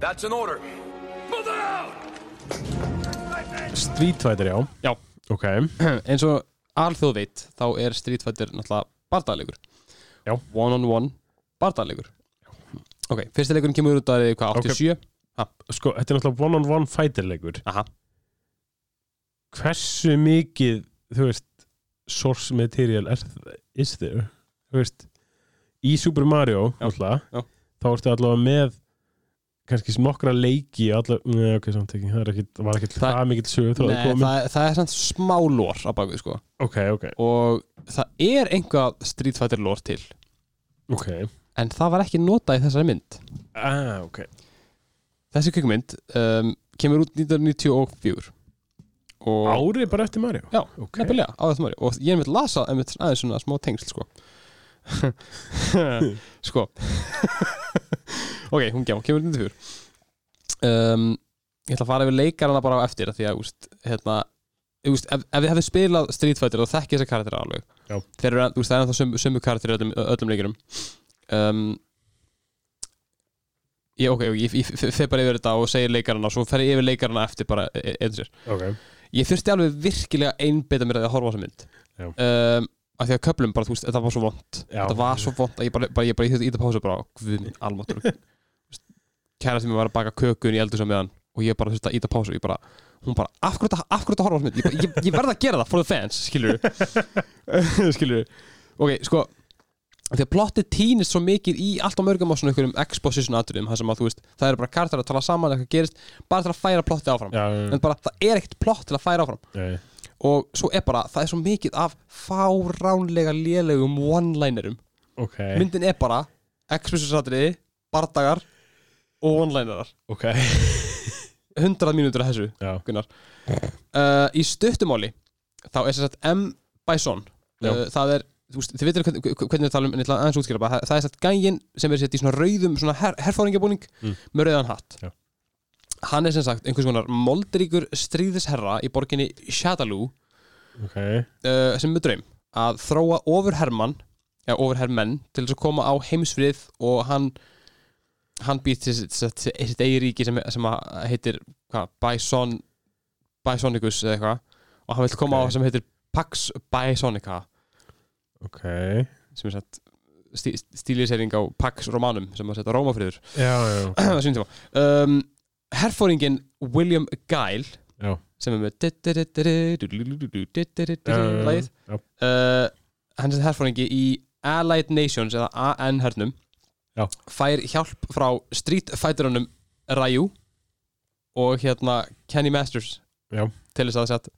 Speaker 7: That's an order. Move them out!
Speaker 2: Street Fighter, já
Speaker 1: Já,
Speaker 2: Ok,
Speaker 1: eins og alþjóð veit þá er Street Fighter náttúrulega bardalegur
Speaker 2: Já.
Speaker 1: One on one bardalegur Ok, fyrsti leikurinn kemur út að hvað, 87?
Speaker 2: sko, þetta er náttúrulega one on one fighterleikur
Speaker 1: Aha,
Speaker 2: hversu mikið þú veist, source material er, is there þú veist, í Super Mario
Speaker 1: Já, já.
Speaker 2: náttúrulega, þá ertu allavega með kannski nokkra leiki allavega, neða ok, samt ekki, það er ekkit, var ekkit
Speaker 1: Það-
Speaker 2: það, mikið sögur þó
Speaker 1: Nei,
Speaker 2: komið
Speaker 1: það, það er samt smá lór á bakvið sko
Speaker 2: ok, ok,
Speaker 1: og það er einhvað Street Fighter lór til
Speaker 2: ok
Speaker 1: en það var ekki notað í þessari mynd
Speaker 2: ah, ok,
Speaker 1: Þessi kvikmynd um, kemur út 1994 og
Speaker 2: árið bara eftir Mario
Speaker 1: Já,
Speaker 2: ok,
Speaker 1: nefnilega, á þetta máli og ég er einmitt lasa einmitt svona aðeins svona smá tengsl sko sko ok, hún gjá, kemur inn til fyrir um, ég ætla að fara yfir leikarana bara á eftir af því að, úst, hérna úst, ef, ef við hefði spilað Street Fighter þá þekki þessa karakterið alveg
Speaker 2: Já.
Speaker 1: þeir eru, úst, það er ennþá sömu, sömu karakterið öllum, öllum leikurum um, ég, ok, ég, ég, ég fer bara yfir þetta og segir leikarana og svo fer ég yfir leikarana eftir bara e- e- eins og
Speaker 2: ok,
Speaker 1: ég þurfti alveg virkilega einbeita mér að því að horfa á þessa mynd
Speaker 2: Já.
Speaker 1: um, af því að köplum bara, þú veist, þetta var svo vond
Speaker 2: Já.
Speaker 1: þetta var svo vond að ég bara, bara ég bara í þetta íta pásu bara, guð minn, almáttur kæra sem ég var að baka kökun í eldur sem meðan og ég bara þurfti að íta pásu ég bara, hún bara, af hverju þetta af hverju þetta horfa á þessa mynd, ég, bara, ég, ég verð að gera það for the fans, skilur skilur ok, sko því að plottið týnist svo mikið í allt á mörgum á svona einhverjum exposition atriðum það sem að þú veist, það eru bara kartar að tala saman eitthvað gerist, bara til að færa plottið áfram
Speaker 2: já, já,
Speaker 1: en bara það er ekkert plott til að færa áfram
Speaker 2: já, já.
Speaker 1: og svo er bara, það er svo mikið af fáránlega lélegum one-linerum
Speaker 2: ok,
Speaker 1: myndin er bara expositionsatriði, bardagar og one-linerar
Speaker 2: ok
Speaker 1: 100 mínútur af þessu
Speaker 2: já,
Speaker 1: Gunnar uh, Í stuttumáli þá er sem sagt M. Bison uh,
Speaker 2: Já.
Speaker 1: það er, þú veist, þið veitir hvernig, hvernig við talum en ég ætla aðeins að útskýra bara, það, það er sem sagt gægin sem er sett í svona rauðum, svona her, herfóringabúning
Speaker 2: Mm.
Speaker 1: með rauðan hatt
Speaker 2: Já.
Speaker 1: Hann er sem sagt einhvers konar moldríkur stríðisherra í borginni Shadaloo
Speaker 2: ok
Speaker 1: uh, sem er með draum að þróa ofurhermann eða ofurhermenn til þess að koma á heimsfrið og hann hann býr til sitt, sitt, sitt, sitt eigi ríki sem, sem að heitir hva, Bison Bisonicus eða eitthvað og hann vil koma á
Speaker 2: Ok.
Speaker 1: sem heitir Pax Bisonica
Speaker 2: ok,
Speaker 1: sem er sett stí, stílisering á Pax Romanum sem að setja Rómafriður
Speaker 2: já, já,
Speaker 1: á sínum tíma um, herfóringin William Gyle
Speaker 2: Já.
Speaker 1: sem er með lagið
Speaker 2: já,
Speaker 1: uh, hann er herfóringi í Allied Nations eða AN hernum
Speaker 2: Já.
Speaker 1: fær hjálp frá Street Fighterunum Ryu og hérna Kenny Masters
Speaker 2: Já.
Speaker 1: til þess að það sett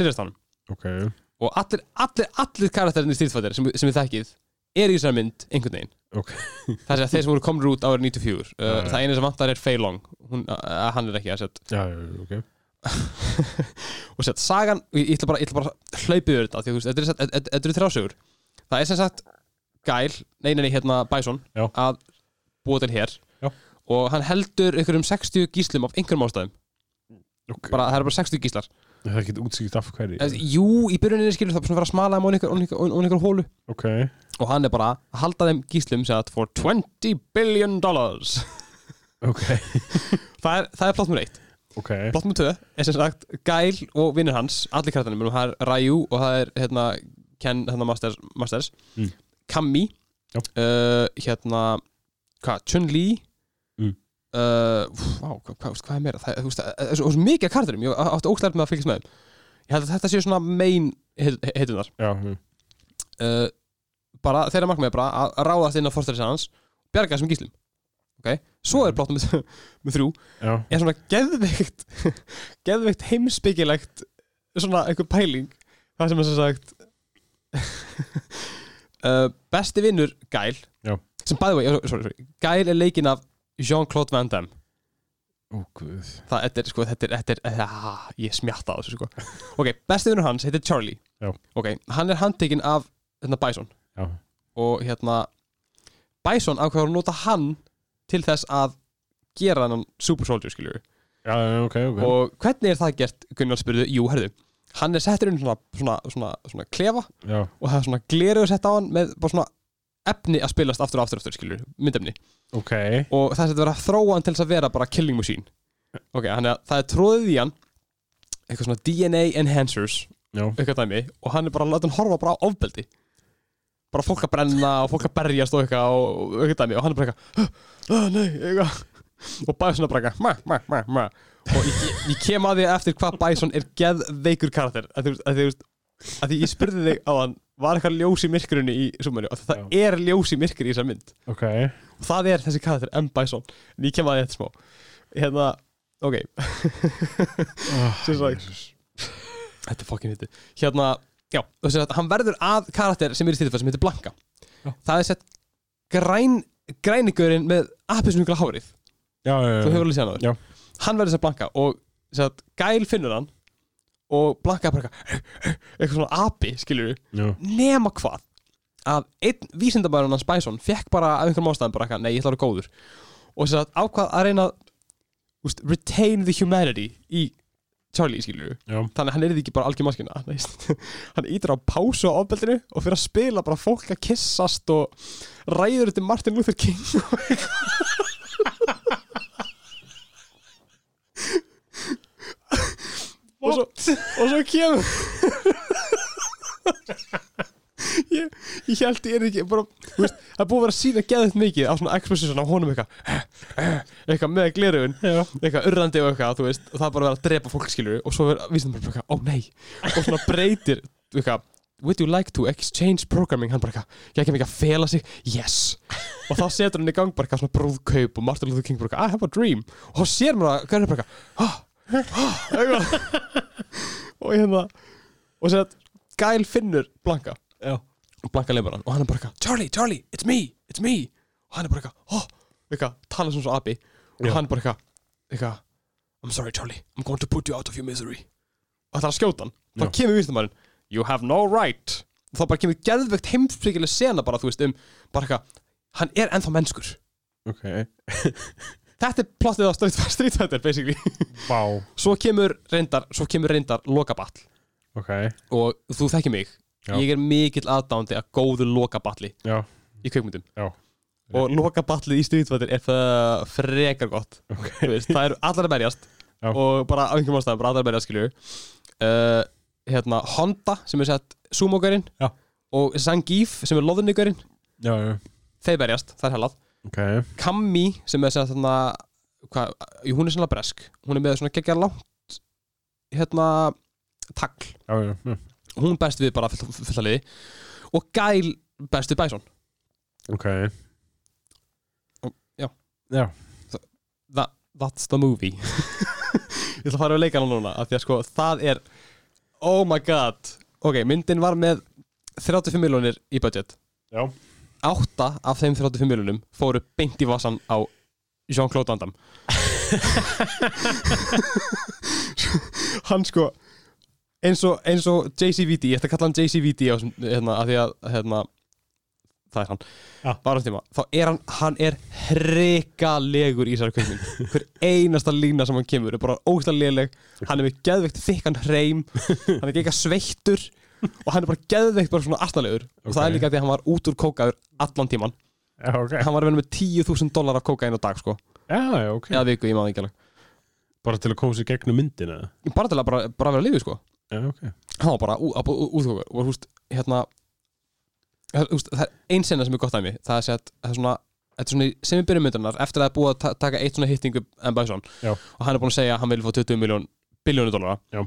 Speaker 1: sinjast honum
Speaker 2: ok
Speaker 1: og allir, allir, allir karakterinn í Street Fighter sem, sem við þekkið er í þessari mynd einhvern veginn
Speaker 2: Ok.
Speaker 1: það er að þeir sem voru komnir út árið 94 uh,
Speaker 2: Já, já.
Speaker 1: það eina sem vantar er Fei Long Hún, uh, hann er ekki að sett
Speaker 2: já, já, já, ok
Speaker 1: og sett sagan, og ég ég ætla bara, ég ætla bara að hlaupið yfir þetta, því að þú veist, þetta er, þetta- þetta- þetta eru þrjásögur það er sem sagt Gæl, nei, nei, nei, hérna Bæsson
Speaker 2: Já.
Speaker 1: að búa til hér
Speaker 2: Já.
Speaker 1: og hann heldur einhverjum 60 gíslum af einhverjum ástæðum,
Speaker 2: Ok.
Speaker 1: bara, það eru bara 60 gíslar
Speaker 2: Það er ekkert útsýkt af hverju
Speaker 1: yeah. jú, í byrjuninni skilur það er svona að vera að smala um einhver, einhver, einhver, einhver hólu
Speaker 2: Ok,
Speaker 1: og hann er bara að halda þeim gíslum sem sagt for 20 billion dollars
Speaker 2: ok,
Speaker 1: það er, það er plott mér eitt
Speaker 2: ok
Speaker 1: Plott nr. 2 er sem sagt Gæl og vinnir hans, allir krættanum og það er Ryu og það er hérna, Ken, hérna Masters, Masters.
Speaker 2: Mm.
Speaker 1: Kami
Speaker 2: Já.
Speaker 1: uh, hérna hvað, Chun-Li
Speaker 2: Mm.
Speaker 1: uh, vá, hvað, hvað, hvað er meira það er þú veist, það er svo, svo mikið af krættanum ég átti óslært með að fylgjast með þeim ég held að þetta séu svona main hit- hitunar
Speaker 2: Já, mm,
Speaker 1: uh, bara þeirra markmið er bara að ráðast inn á forstæðis hans bjarga þessum gíslum okay? svo
Speaker 2: Mhm.
Speaker 1: er plott nr. 3
Speaker 2: já,
Speaker 1: er svona geðveikt geðveikt heimsbyggilegt svona einhver pæling það sem er sem sagt uh, besti vinnur Gæl
Speaker 2: Já.
Speaker 1: sem bæði vegi, sorry, sorry Gæl er leikinn af Jean-Claude Van Damme
Speaker 2: ó guð
Speaker 1: það þetta er sko, þetta er, þetta er ah, ég smjatta á þessu sko ok, besti vinnur hans heitir Charlie
Speaker 2: Já.
Speaker 1: ok, hann er handtekinn af hérna, Bison
Speaker 2: Já,
Speaker 1: og hérna Bison ákveður að nota hann til þess að gera hann super soldier skiljur
Speaker 2: já, já, ok, ok
Speaker 1: og hvernig er það gert Gunnar spurði, jú, herðu hann er settur inn í svona, svona, svona, svona klefa
Speaker 2: Já,
Speaker 1: og það er svona gleruðu sett á hann með bara svona efni að spilast aftur og aftur og aftur skilur, myndefni
Speaker 2: ok
Speaker 1: og það er að vera að þróa hann til þess að vera bara killing machine ok, þannig að það er tróðið í hann eitthvað svona DNA enhancers
Speaker 2: Já.
Speaker 1: eitthvað dæmi og hann er bara að láta hann horfa bara á ofbeldi bara fólk að brenna og fólk að berjast og eitthvað og og eitthvað dæmi og hann er bara eitthvað "Ah, ah, nei, eitthvað og Bison er bara eitthvað ma, ma, ma, ma. og ég, ég kem að því eftir hvað Bison er geðveikur karakter að því, að því, að því, að því ég spurði þig á hann var eitthvað ljós í myrkurinu í sumari og það er ljós í myrkur í þessar mynd
Speaker 2: Ok,
Speaker 1: og það er þessi karakter M. Bison en ég kem að því eftir smá hérna, ok sem sagt þetta er fokkin hitti hérna, já, þessi að hann verður að karakter sem er í styrfæð sem heitir Blanka
Speaker 2: Já.
Speaker 1: það er sett græn græningurinn með appisnugla hárið
Speaker 2: já, já,
Speaker 1: þú hefur
Speaker 2: já,
Speaker 1: alveg séð hann áður.
Speaker 2: já.
Speaker 1: hann verður sem Blanka og sem sagt, gæl finnur hann og Blanka er bara eitthvað "Eh, eitthvað svona api, skilur
Speaker 2: já.
Speaker 1: nema hvað að einn vísindabæðurinn hans Bæsson fekk bara af einhverjum ástæðum bara eitthvað, nei, ég ætla að vera góður og sér að ákvað að reyna að, úst, retain the humanity í Charlie, skilur
Speaker 2: Já.
Speaker 1: þannig að hann er ekki bara algjör maskina hann ítir á pásu á ofbeldinu og fyrir að spila bara fólk að kissast og ræður þetta Martin Luther King og eitthvað og svo, og svo kemur ég, ég held ég er ekki bara, þú veist, það er búið að vera að sína geðið mikið á svona exposition á honum eitthvað "Eh, eitthvað með glerugun eitthvað urrandi og eitthvað, þú veist og það er bara að vera að drepa fólk skilur og svo vera, vísum bara eitthvað, ó nei og svona breytir, eitthvað Would you like to exchange programming? Hann bara eitthvað, ég kem ekki að fela sig, yes og þá setur hann í gang bara eitthvað svona brúðkaup og Martin Luther King bara eitthvað, I have a dream og þá sér maður að, hvernig bara eitthvað, ah, ah, eitthvað og hérna og sér að Gæl finnur Blanka Já. Blanka leifur hann og hann er bara eitthvað Charlie, Charlie, it's me, it's me og hann er bara eitthvað, oh, eitthvað, tala sem svo abi og hann er bara eitthvað, eitthvað I'm sorry Charlie, I'm going to put you out of your misery og það er að skjóta hann þá kemur vísnumærin, you have no right og þá bara kemur geðvegt heimsbyggileg sena bara, þú veist, um, bara eitthvað hann er ennþá mennskur
Speaker 2: Ok,
Speaker 1: þetta er plottið á strýtvættir, basically
Speaker 2: bá,
Speaker 1: svo kemur reyndar, svo kemur reyndar lokaball
Speaker 2: ok,
Speaker 1: og þú þekkir mig
Speaker 2: Já.
Speaker 1: ég er mikill aðdándi að góðu lokaballi
Speaker 2: já,
Speaker 1: í kveikmyndum
Speaker 2: já,
Speaker 1: og lokaballið í stríðvættir er það frekar gott Þú veist, það eru allar að berjast
Speaker 2: Já.
Speaker 1: og bara á einhverjum ástæðum, bara allar að berjast skilju uh, hérna Honda sem er sett sumogörinn
Speaker 2: Já.
Speaker 1: og Zangief sem er loðunigörinn
Speaker 2: já, já,
Speaker 1: þeir berjast, það er hellað
Speaker 2: ok,
Speaker 1: Kammi sem er sett þarna hvað, jú, hún er sannlega bresk hún er með svona geggjar langt hérna tagl
Speaker 2: já, já, hm. já,
Speaker 1: hún berst við bara full- fulla liði og Gæl berst við Bæsson
Speaker 2: ok,
Speaker 1: That, that's the movie Ég ætla að fara að leika hann núna af því að sko það er Oh my god Ok, myndin var með 35 miljonir í budget
Speaker 2: já,
Speaker 1: 8 af þeim 35 miljonum fóru beint í vassan á Jean-Claude Van Damme Hann sko eins og, eins og JCVD, ég ætla að kalla hann JCVD á, þessum- hérna, af því að hérna, það er hann
Speaker 2: Já.
Speaker 1: bara um tíma, þá er hann, hann er hrikalegur í þessari kveikmynd hver einasta lína sem hann kemur er bara ógæslega léleg, hann er með geðveikt þykkan hreim, hann er ekki eitthvað sveittur og hann er bara geðveikt bara svona astnalegur og það er
Speaker 2: Ok.
Speaker 1: líka því að hann var út úr kókaður allan tíman,
Speaker 2: já, ok,
Speaker 1: hann var að vera með 10.000 dólar af kókaðin á dag sko,
Speaker 2: já, já, ok,
Speaker 1: eða viku, ég maður ekki alveg
Speaker 2: bara til að koma sér gegnum myndina, eða?
Speaker 1: bara til að bara, bara vera að lifi sko
Speaker 2: já, ok,
Speaker 1: hann var bara ú- að- ú- útkókur og húst, hérna það- húst, það er ein sena sem er gott dæmi það er sett, það er svona, þetta er svona í- sem við byrjum myndunar eftir að það er búið að ta taka eitt svona hittingu en Bæsson
Speaker 2: Já.
Speaker 1: og hann er búin að segja að hann vil fá 20 miljón biljónu dólara
Speaker 2: Já.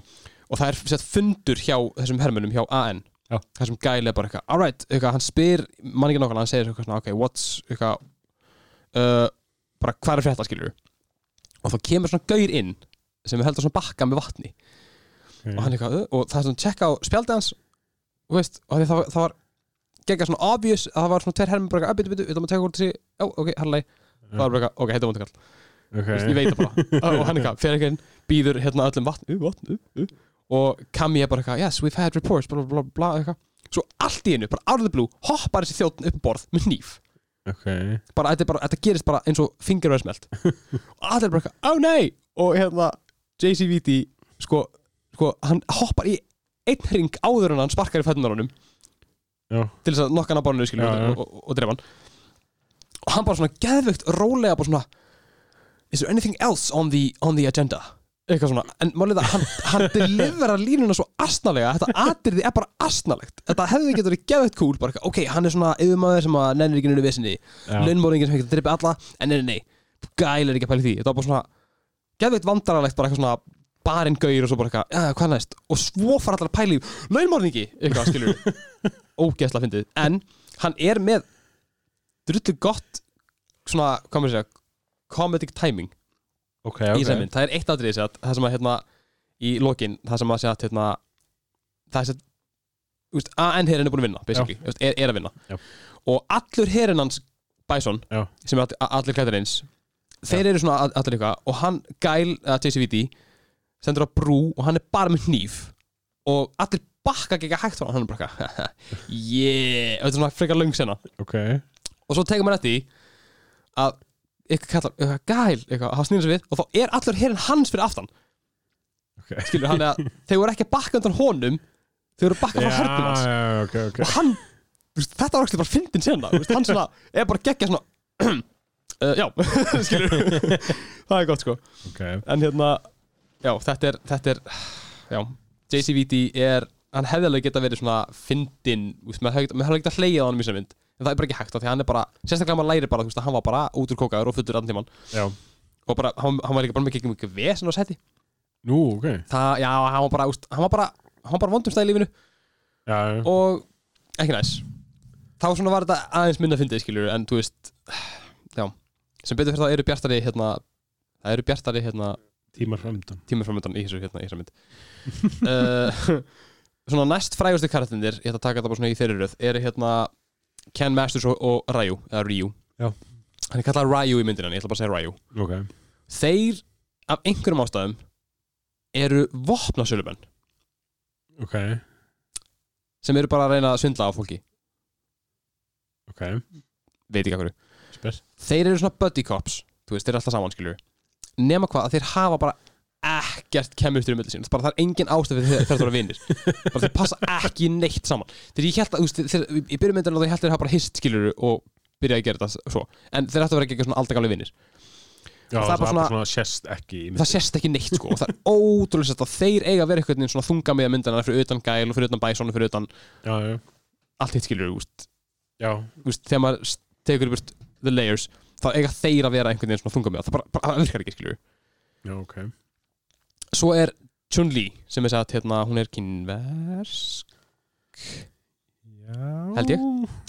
Speaker 1: og það er sett fundur hjá þessum hermönum hjá AN
Speaker 2: Já.
Speaker 1: þessum gæli er bara eitthvað alright, eitthvað, hann spyr mann ekki nákvæmlega, hann segir eitthvað svona ok, what's eitthvað, uh, bara hvað er frétta skilur og þá kemur svona gaur inn sem heldur svona bakka með vatni
Speaker 2: Mm.
Speaker 1: og hann eitthvað, "Uh," og það er svona tjekka á spjaldið hans og veist, og því það, var- það var gegga svona obvious að það var svona tveir hermi bara, að byttu, byttu, við ætlum að tjekka úr þessi já, ok, herrlei, það var bara, eitthvað, ok, þetta er vondakall
Speaker 2: ok,
Speaker 1: okay. ég veit það bara, og hann eitthvað fyrir eitthvað, býður hérna öllum vatn, uh, vatn, uh, uh og Kami er bara eitthvað, yes, we've had reports bla, bla, bla, bla, eitthvað, svo allt í einu bara out of the blue, hoppar þessi þjóttn upp á borð með nýf
Speaker 2: ok,
Speaker 1: bara, þetta, er bara, þetta gerist bara eins og fingervæðsmelt og allir bara, eitthvað, ó nei og hérna, JCVD sko, sko, hann hoppar í einn ring áður en hann sparkar í fætunar honum
Speaker 2: já,
Speaker 1: til þess að nokka hann að bárnu skilur
Speaker 2: Já, já.
Speaker 1: og, og, og drefa hann og hann bara svona geðvögt rólega bara svona is there anything else on the, on the agenda eitthvað svona, en málið það, hann, hann deliverar línuna svo astnalega, þetta atriði er bara astnalegt, þetta hefði getur verið geðveitt cool, bara eitthvað, ok, hann er svona yfirmaður sem að nennir ekki nynnu vissinni,
Speaker 2: Já.
Speaker 1: launmóringin sem ekki drippi alla, en nei, nei, nei gæl er ekki að pæla í því, þetta var bara svona geðveitt vandrarlegt, bara eitthvað svona barinn gaur og svo bara eitthvað, ja, hvað næst og svo fara allar að pæla í, launmóringi eitthvað, skilur við, ógeðsla fyndið en hann er með drullu gott, svona, hvað maður segja comedic timing
Speaker 2: ok,
Speaker 1: í þessari mynd, það er eitt atrið að það sem að hérna í lokin, það sem að segja að hérna, það sem úst, AN herin er búin að vinna, basically, úst, er, er að vinna
Speaker 2: Já.
Speaker 1: og allur herin hans Bison,
Speaker 2: Já.
Speaker 1: sem er all, allir klættir eins þeir eru svona all- allir eitthvað og hann gæl, uh, JCVD sendur á brú og hann er bara með hníf og allir bakka ekki hægt frá honum, hann er bara eitthvað yeah, og þetta er svona frekar löng sena
Speaker 2: ok,
Speaker 1: og svo tekur maður eftir því að eitthvað kallar, eitthvað gæl eitthvað, hann snýr sér við og þá er allur herinn hans fyrir aftan
Speaker 2: ok
Speaker 1: skilur hann að þeir voru ekki að bakka undan honum þeir voru að bakka frá
Speaker 2: Já,
Speaker 1: herpum hans
Speaker 2: já, ok, ok
Speaker 1: og hann, þú veist, þetta var ekki bara fyndin sena þú veist, hann svona, er bara geggja svona uh, já, skilur það er gott sko
Speaker 2: ok,
Speaker 1: en hérna, já, þetta er þetta er, já, JCVD er hann hefði alveg geta verið svona fyndin, þú veist, maður hefði maður hefði geta hlegið á hann í sem mynd, en það er bara ekki hægt af því að hann er bara, sérstaklega maður læri bara, þú veist, að hann var bara út úr kókaður og fullur allan tíman
Speaker 2: já
Speaker 1: og bara, hann, hann var líka bara með ekki mikið vesen á seti,
Speaker 2: Nú, ok,
Speaker 1: það, já, hann var bara, þú veist, hann var bara hann var bara vondum stæði í lífinu
Speaker 2: já, já,
Speaker 1: og ekki næs þá svona var þetta aðeins minna fyndið skilur en þú veist, já sem betur fyrir það eru bjartari hérna það eru bjartari hérna
Speaker 2: tímar framöndan
Speaker 1: tímur framöndan í þessu hérna í þessu mynd uh, svona næst frægustu karatindir ég ætla að taka þetta bara svona í þeirri röð eru hérna Ken Masters og, og Ryu eða Ryu
Speaker 2: Já.
Speaker 1: hann er kallað Ryu í myndinni en ég ætla bara að segja Ryu
Speaker 2: Ok,
Speaker 1: þeir af einhverjum ástæðum eru vopnasölumenn
Speaker 2: ok,
Speaker 1: sem eru bara að reyna að svindla á fólki
Speaker 2: ok
Speaker 1: veit ekki af hverju
Speaker 2: Spes
Speaker 1: þeir eru svona buddy cops þú veist, þeir eru alltaf saman skilur nema hvað að þeir hafa bara ekkert kemistri um milli sín bara það er engin ástæð fyrir þeir- þeir þarf að vera vinnir bara þeir passa ekki neitt saman þegar ég held að, þú veist, þeir, í byrjum myndinu þeir held að þeir hafa bara hist skilur og byrja að gera þetta svo en þeir ættu að vera ekki svona aldrei gamlega vinnir
Speaker 2: Já,
Speaker 1: það er bara svona-
Speaker 2: sérst ekki í
Speaker 1: það sést ekki neitt sko og það er ótrúlega sérst að þeir eiga að vera eitthvað svona þunga með myndina fyrir utan gæl og fyrir utan bæsson og fyrir utan
Speaker 2: Já, já,
Speaker 1: allt hitt skilur, úst,
Speaker 2: já,
Speaker 1: úst, þegar maður s- tekur burt the layers þá eiga þeir að vera einhvern veginn svona þunga með það bara, bara það virkar ekki skilur
Speaker 2: já, ok
Speaker 1: svo er Chun-Li sem er sagt hérna, hún er kynversk
Speaker 2: Já
Speaker 1: Held ég.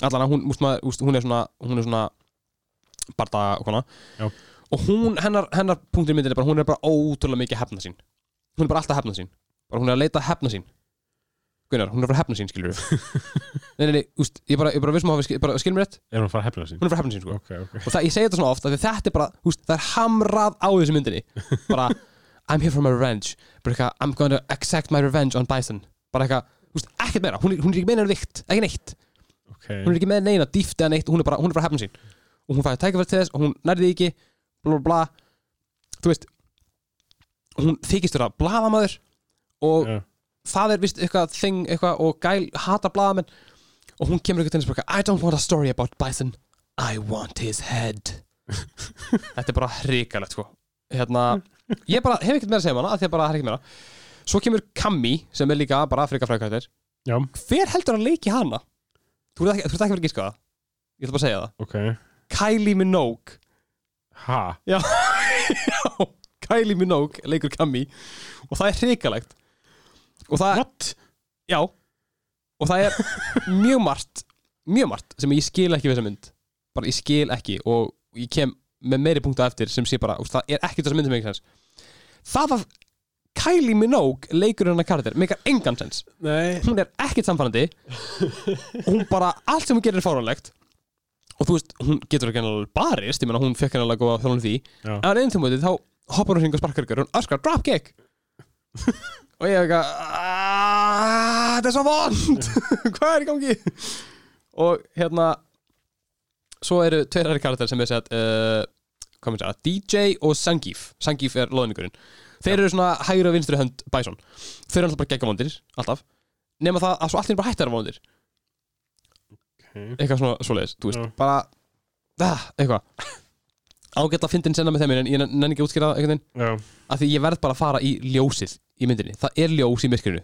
Speaker 1: allan að hún, úst maður, úst, hún er svona hún er svona barða og kona
Speaker 2: Já.
Speaker 1: og hún, hennar, hennar punktur myndin er bara hún er bara ótrúlega mikið að hefna sín hún er bara alltaf að hefna sín bara hún er að leita að hefna sín Gunnar, hún er bara að hefna sín skilur við nei, nei, nei, úst, ég bara, ég bara vissum að hafa skil, bara, skilur mér rétt
Speaker 2: Er hún að fara að hefna sín?
Speaker 1: hún er bara að hefna sín sko
Speaker 2: Ok, ok
Speaker 1: og það, ég segi þetta svona oft af því þetta er bara, húst, það er hamrað á þessu myndinni bara, I'm here for my revenge bara eitthvað, I'm gonna exact my revenge on Bison bara eitthvað, húst, ekkert meira hún, er- hún er ekki með neina vikt, ekki neitt
Speaker 2: Ok,
Speaker 1: hún er ekki með neina dýft eða neitt, hún er bara, hún er bara hefn sín og hún fæði tækifært til þess og hún nærði því ekki bla bla bla þú veist, hún þykist vera blaðamaður og
Speaker 2: Já.
Speaker 1: það er vist eitthvað þing eitthvað og gæl hatar blaðamenn og hún kemur eitthvað til þess bara eitthvað, I don't want a story about Bison I want his head þetta er bara hrikalegt sko hérna, ég bara hef ekkert meira að segja um hana af því að bara það er ekkert meira svo kemur Kammi sem er líka bara Afrika frækvættir
Speaker 2: já,
Speaker 1: hver heldur að leiki hana? Þú ert ekki, þú ert ekki verið að gíska það Ég ætla bara að segja það
Speaker 2: ok
Speaker 1: Kylie Minogue
Speaker 2: Ha,
Speaker 1: Já, já Kylie Minogue leikur Cammy og það er hrikalegt og það What? Já og það er mjög margt mjög margt sem ég skil ekki við þessa mynd bara ég skil ekki og ég kem með meiri punktu eftir sem sé bara úst, það er ekkert þessa mynd sem ekki sens það að Kylie Minogue leikur hennar karakter meikar engan sens
Speaker 2: nei
Speaker 1: hún er ekkert samfærandi og hún bara, allt sem hún gerir er fáránlegt og þú veist, hún getur ekki hennar barist, ég meina hún fekk hennar góða þjálfum því,
Speaker 2: Já.
Speaker 1: en einn tímutið þá hoppar hún hring og sparkar ykkur, hún öskar dropkick og ég er eitthvað "Ah, þetta er svo vond hvað er í gangi og hérna svo eru tveir aðri karakter sem er sett uh, hvað maður segja, DJ og Sangief Sangief er loðningurinn þeir eru svona hægra og vinstri hönd Bison þeir eru alltaf bara geggamóndir, alltaf nema það að svo allir bara hættar að vondir
Speaker 2: Ok.
Speaker 1: eitthvað svona svoleiðis, þú veist ah,
Speaker 2: Já.
Speaker 1: bara, það, eitthvað ágætla fyndin senna með þeim en ég nenni ekki að útskýra það einhvern veginn
Speaker 2: já,
Speaker 1: af því ég verð bara að fara í ljósið í myndinni það er ljós í myrkrinu,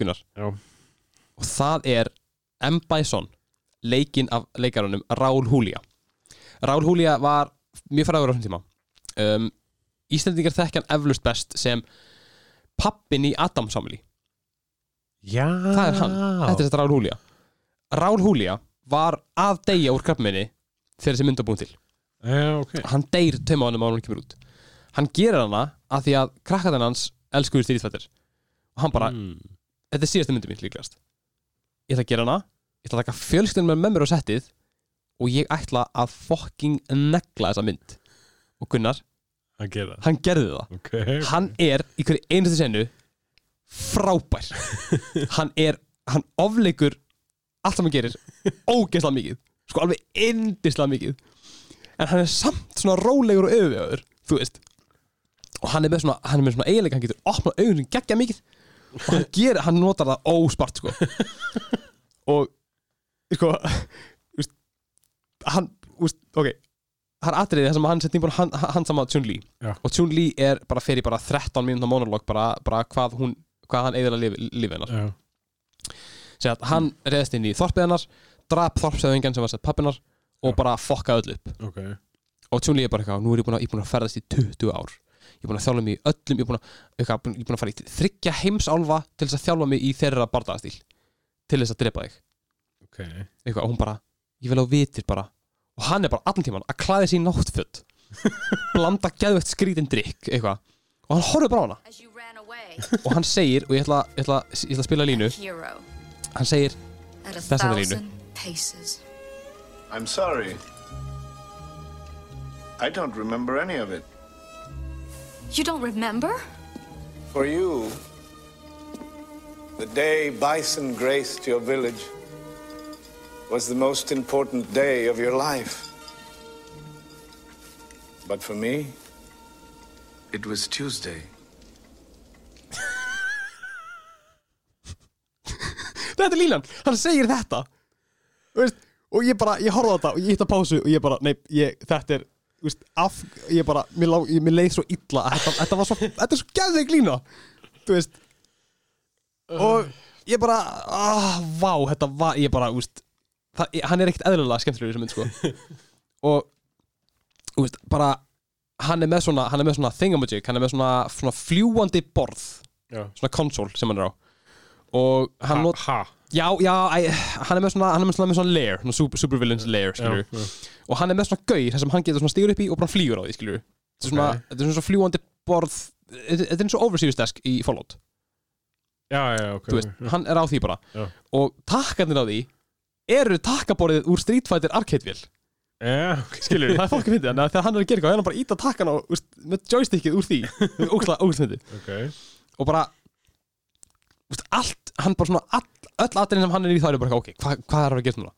Speaker 1: Gunnar
Speaker 2: já,
Speaker 1: og það er M. Bison leikinn af leikarunum Raúl Húlia Raúl Húlia var mjög frægur á þessum tíma um, Íslendingar þekkjan eflust best sem pappin í Adam Samli
Speaker 2: já
Speaker 1: það er hann, þetta er þetta Raúl Húlia Raúl Húlia var að deyja úr krafminni þegar þessi mynda búin til
Speaker 2: já, ok,
Speaker 1: hann deyr tveim ánum ánum hann kemur út hann gerir hana að því að krakkaðan hans elskuður stýrifættir og hann bara,
Speaker 2: mm.
Speaker 1: þetta er síðasta myndi mín líklegast ég ætla að gera hana ég ætla að taka fjölskyldin með mér á settið og ég ætla að fucking negla þessa mynd og Gunnar,
Speaker 2: að gera
Speaker 1: hann gerði það
Speaker 2: ok,
Speaker 1: hann er í hverju einustu senu frábær hann er, hann ofleikur allt sem hann gerir ógeðslega mikið, sko alveg yndislega mikið en hann er samt svona rólegur og yfirvegaður, þú veist og hann er með svona, hann er með svona eiginleika, hann getur opnað augun geggja mikið og hann gerir, hann notar það óspart sko og sko úst, hann, úst, ok það er atriðið þar sem hann setning búin hann, hann saman Tjún Lý
Speaker 2: Já.
Speaker 1: og Tjún Lý er bara fer í bara 13 mínúnda monolog bara, bara hvað hún hvað hann eigðilega lífi, lífi hennar
Speaker 2: já,
Speaker 1: Sér að hann
Speaker 2: Mm.
Speaker 1: reyðist inn í þorpið hennar drap þorpsæðingan sem var sett pappinar og
Speaker 2: Já.
Speaker 1: bara fokkaði öll upp
Speaker 2: ok
Speaker 1: og Tjón Lee er bara eitthvað, nú er ég búin að, ég búin að ferðast í 20 ár ég er búin að þjálfa mig í öllum ég er búin að, eitthvað, búin- ég er búin að fara í þryggja heimsálfa til þess að þjálfa mig í þeirra bardagastíl til þess að drepa þig
Speaker 2: ok,
Speaker 1: eitthvað, og hún bara, ég vil á vitir bara og hann er bara allan tíman að klæða sér í náttföt blanda geðvegt skrítin drikk eitthvað, og hann horfir bara á hana
Speaker 6: as you ran away,
Speaker 1: og hann segir, og ég ætla, ég ætla, ég ætla að spila línu
Speaker 6: hero,
Speaker 1: hann segir,
Speaker 6: at a
Speaker 1: That's not the leader.
Speaker 6: thousand paces.
Speaker 5: I'm sorry. I don't remember any of it.
Speaker 6: You don't remember?
Speaker 8: For you, the day Bison graced your village was the most important day of your life. But for me, it was Tuesday.
Speaker 1: þetta er línan, hann segir þetta Þú veist, og ég bara, ég horfði á þetta og ég hitt að pásu og ég bara, nei, ég, þetta er þú veist, af, ég bara, mér, lá, ég, mér leið svo illa að þetta, þetta var svo, þetta er svo gæðveik lína þú veist og ég bara ah, vá, þetta var, ég bara, þú veist það, ég- hann er ekkert eðlilega skemmtilegur í þessum mynd, sko og, þú veist, bara hann er með svona, hann er með svona thingamajig, hann er með svona, svona fljúandi borð,
Speaker 2: já
Speaker 1: svona konsól sem hann er á og hann
Speaker 2: ha,
Speaker 1: not-
Speaker 2: ha.
Speaker 1: Já, já, æ, hann er með svona, hann er með svona, með svona lair, svona super, supervillains lair,
Speaker 2: Já,
Speaker 1: skilur
Speaker 2: já.
Speaker 1: Og hann er með svona gaur, þar sem hann getur svona stígur upp í og bara flýgur á því, skilur Þetta er svona,
Speaker 2: Ok.
Speaker 1: þetta er svona svo fljúandi borð, þetta þetta er eins og overseas desk í Fallout
Speaker 2: já, já, ok
Speaker 1: Þú veist,
Speaker 2: já.
Speaker 1: hann er á því bara
Speaker 2: Já.
Speaker 1: Og takkarnir á því eru takkaborðið úr Street Fighter arcade-vél
Speaker 2: já, ok
Speaker 1: Skilur, það er fólk að fyndi þannig að þegar hann er að gera eitthvað, hann er hann bara að íta takkan á, úst, með joystickið úr því Úksla, úksla fyndi
Speaker 2: ok,
Speaker 1: og bara veist, allt, hann bara svona all, öll atriðin sem hann er í það er bara ok, hvað, hvað er að gera núna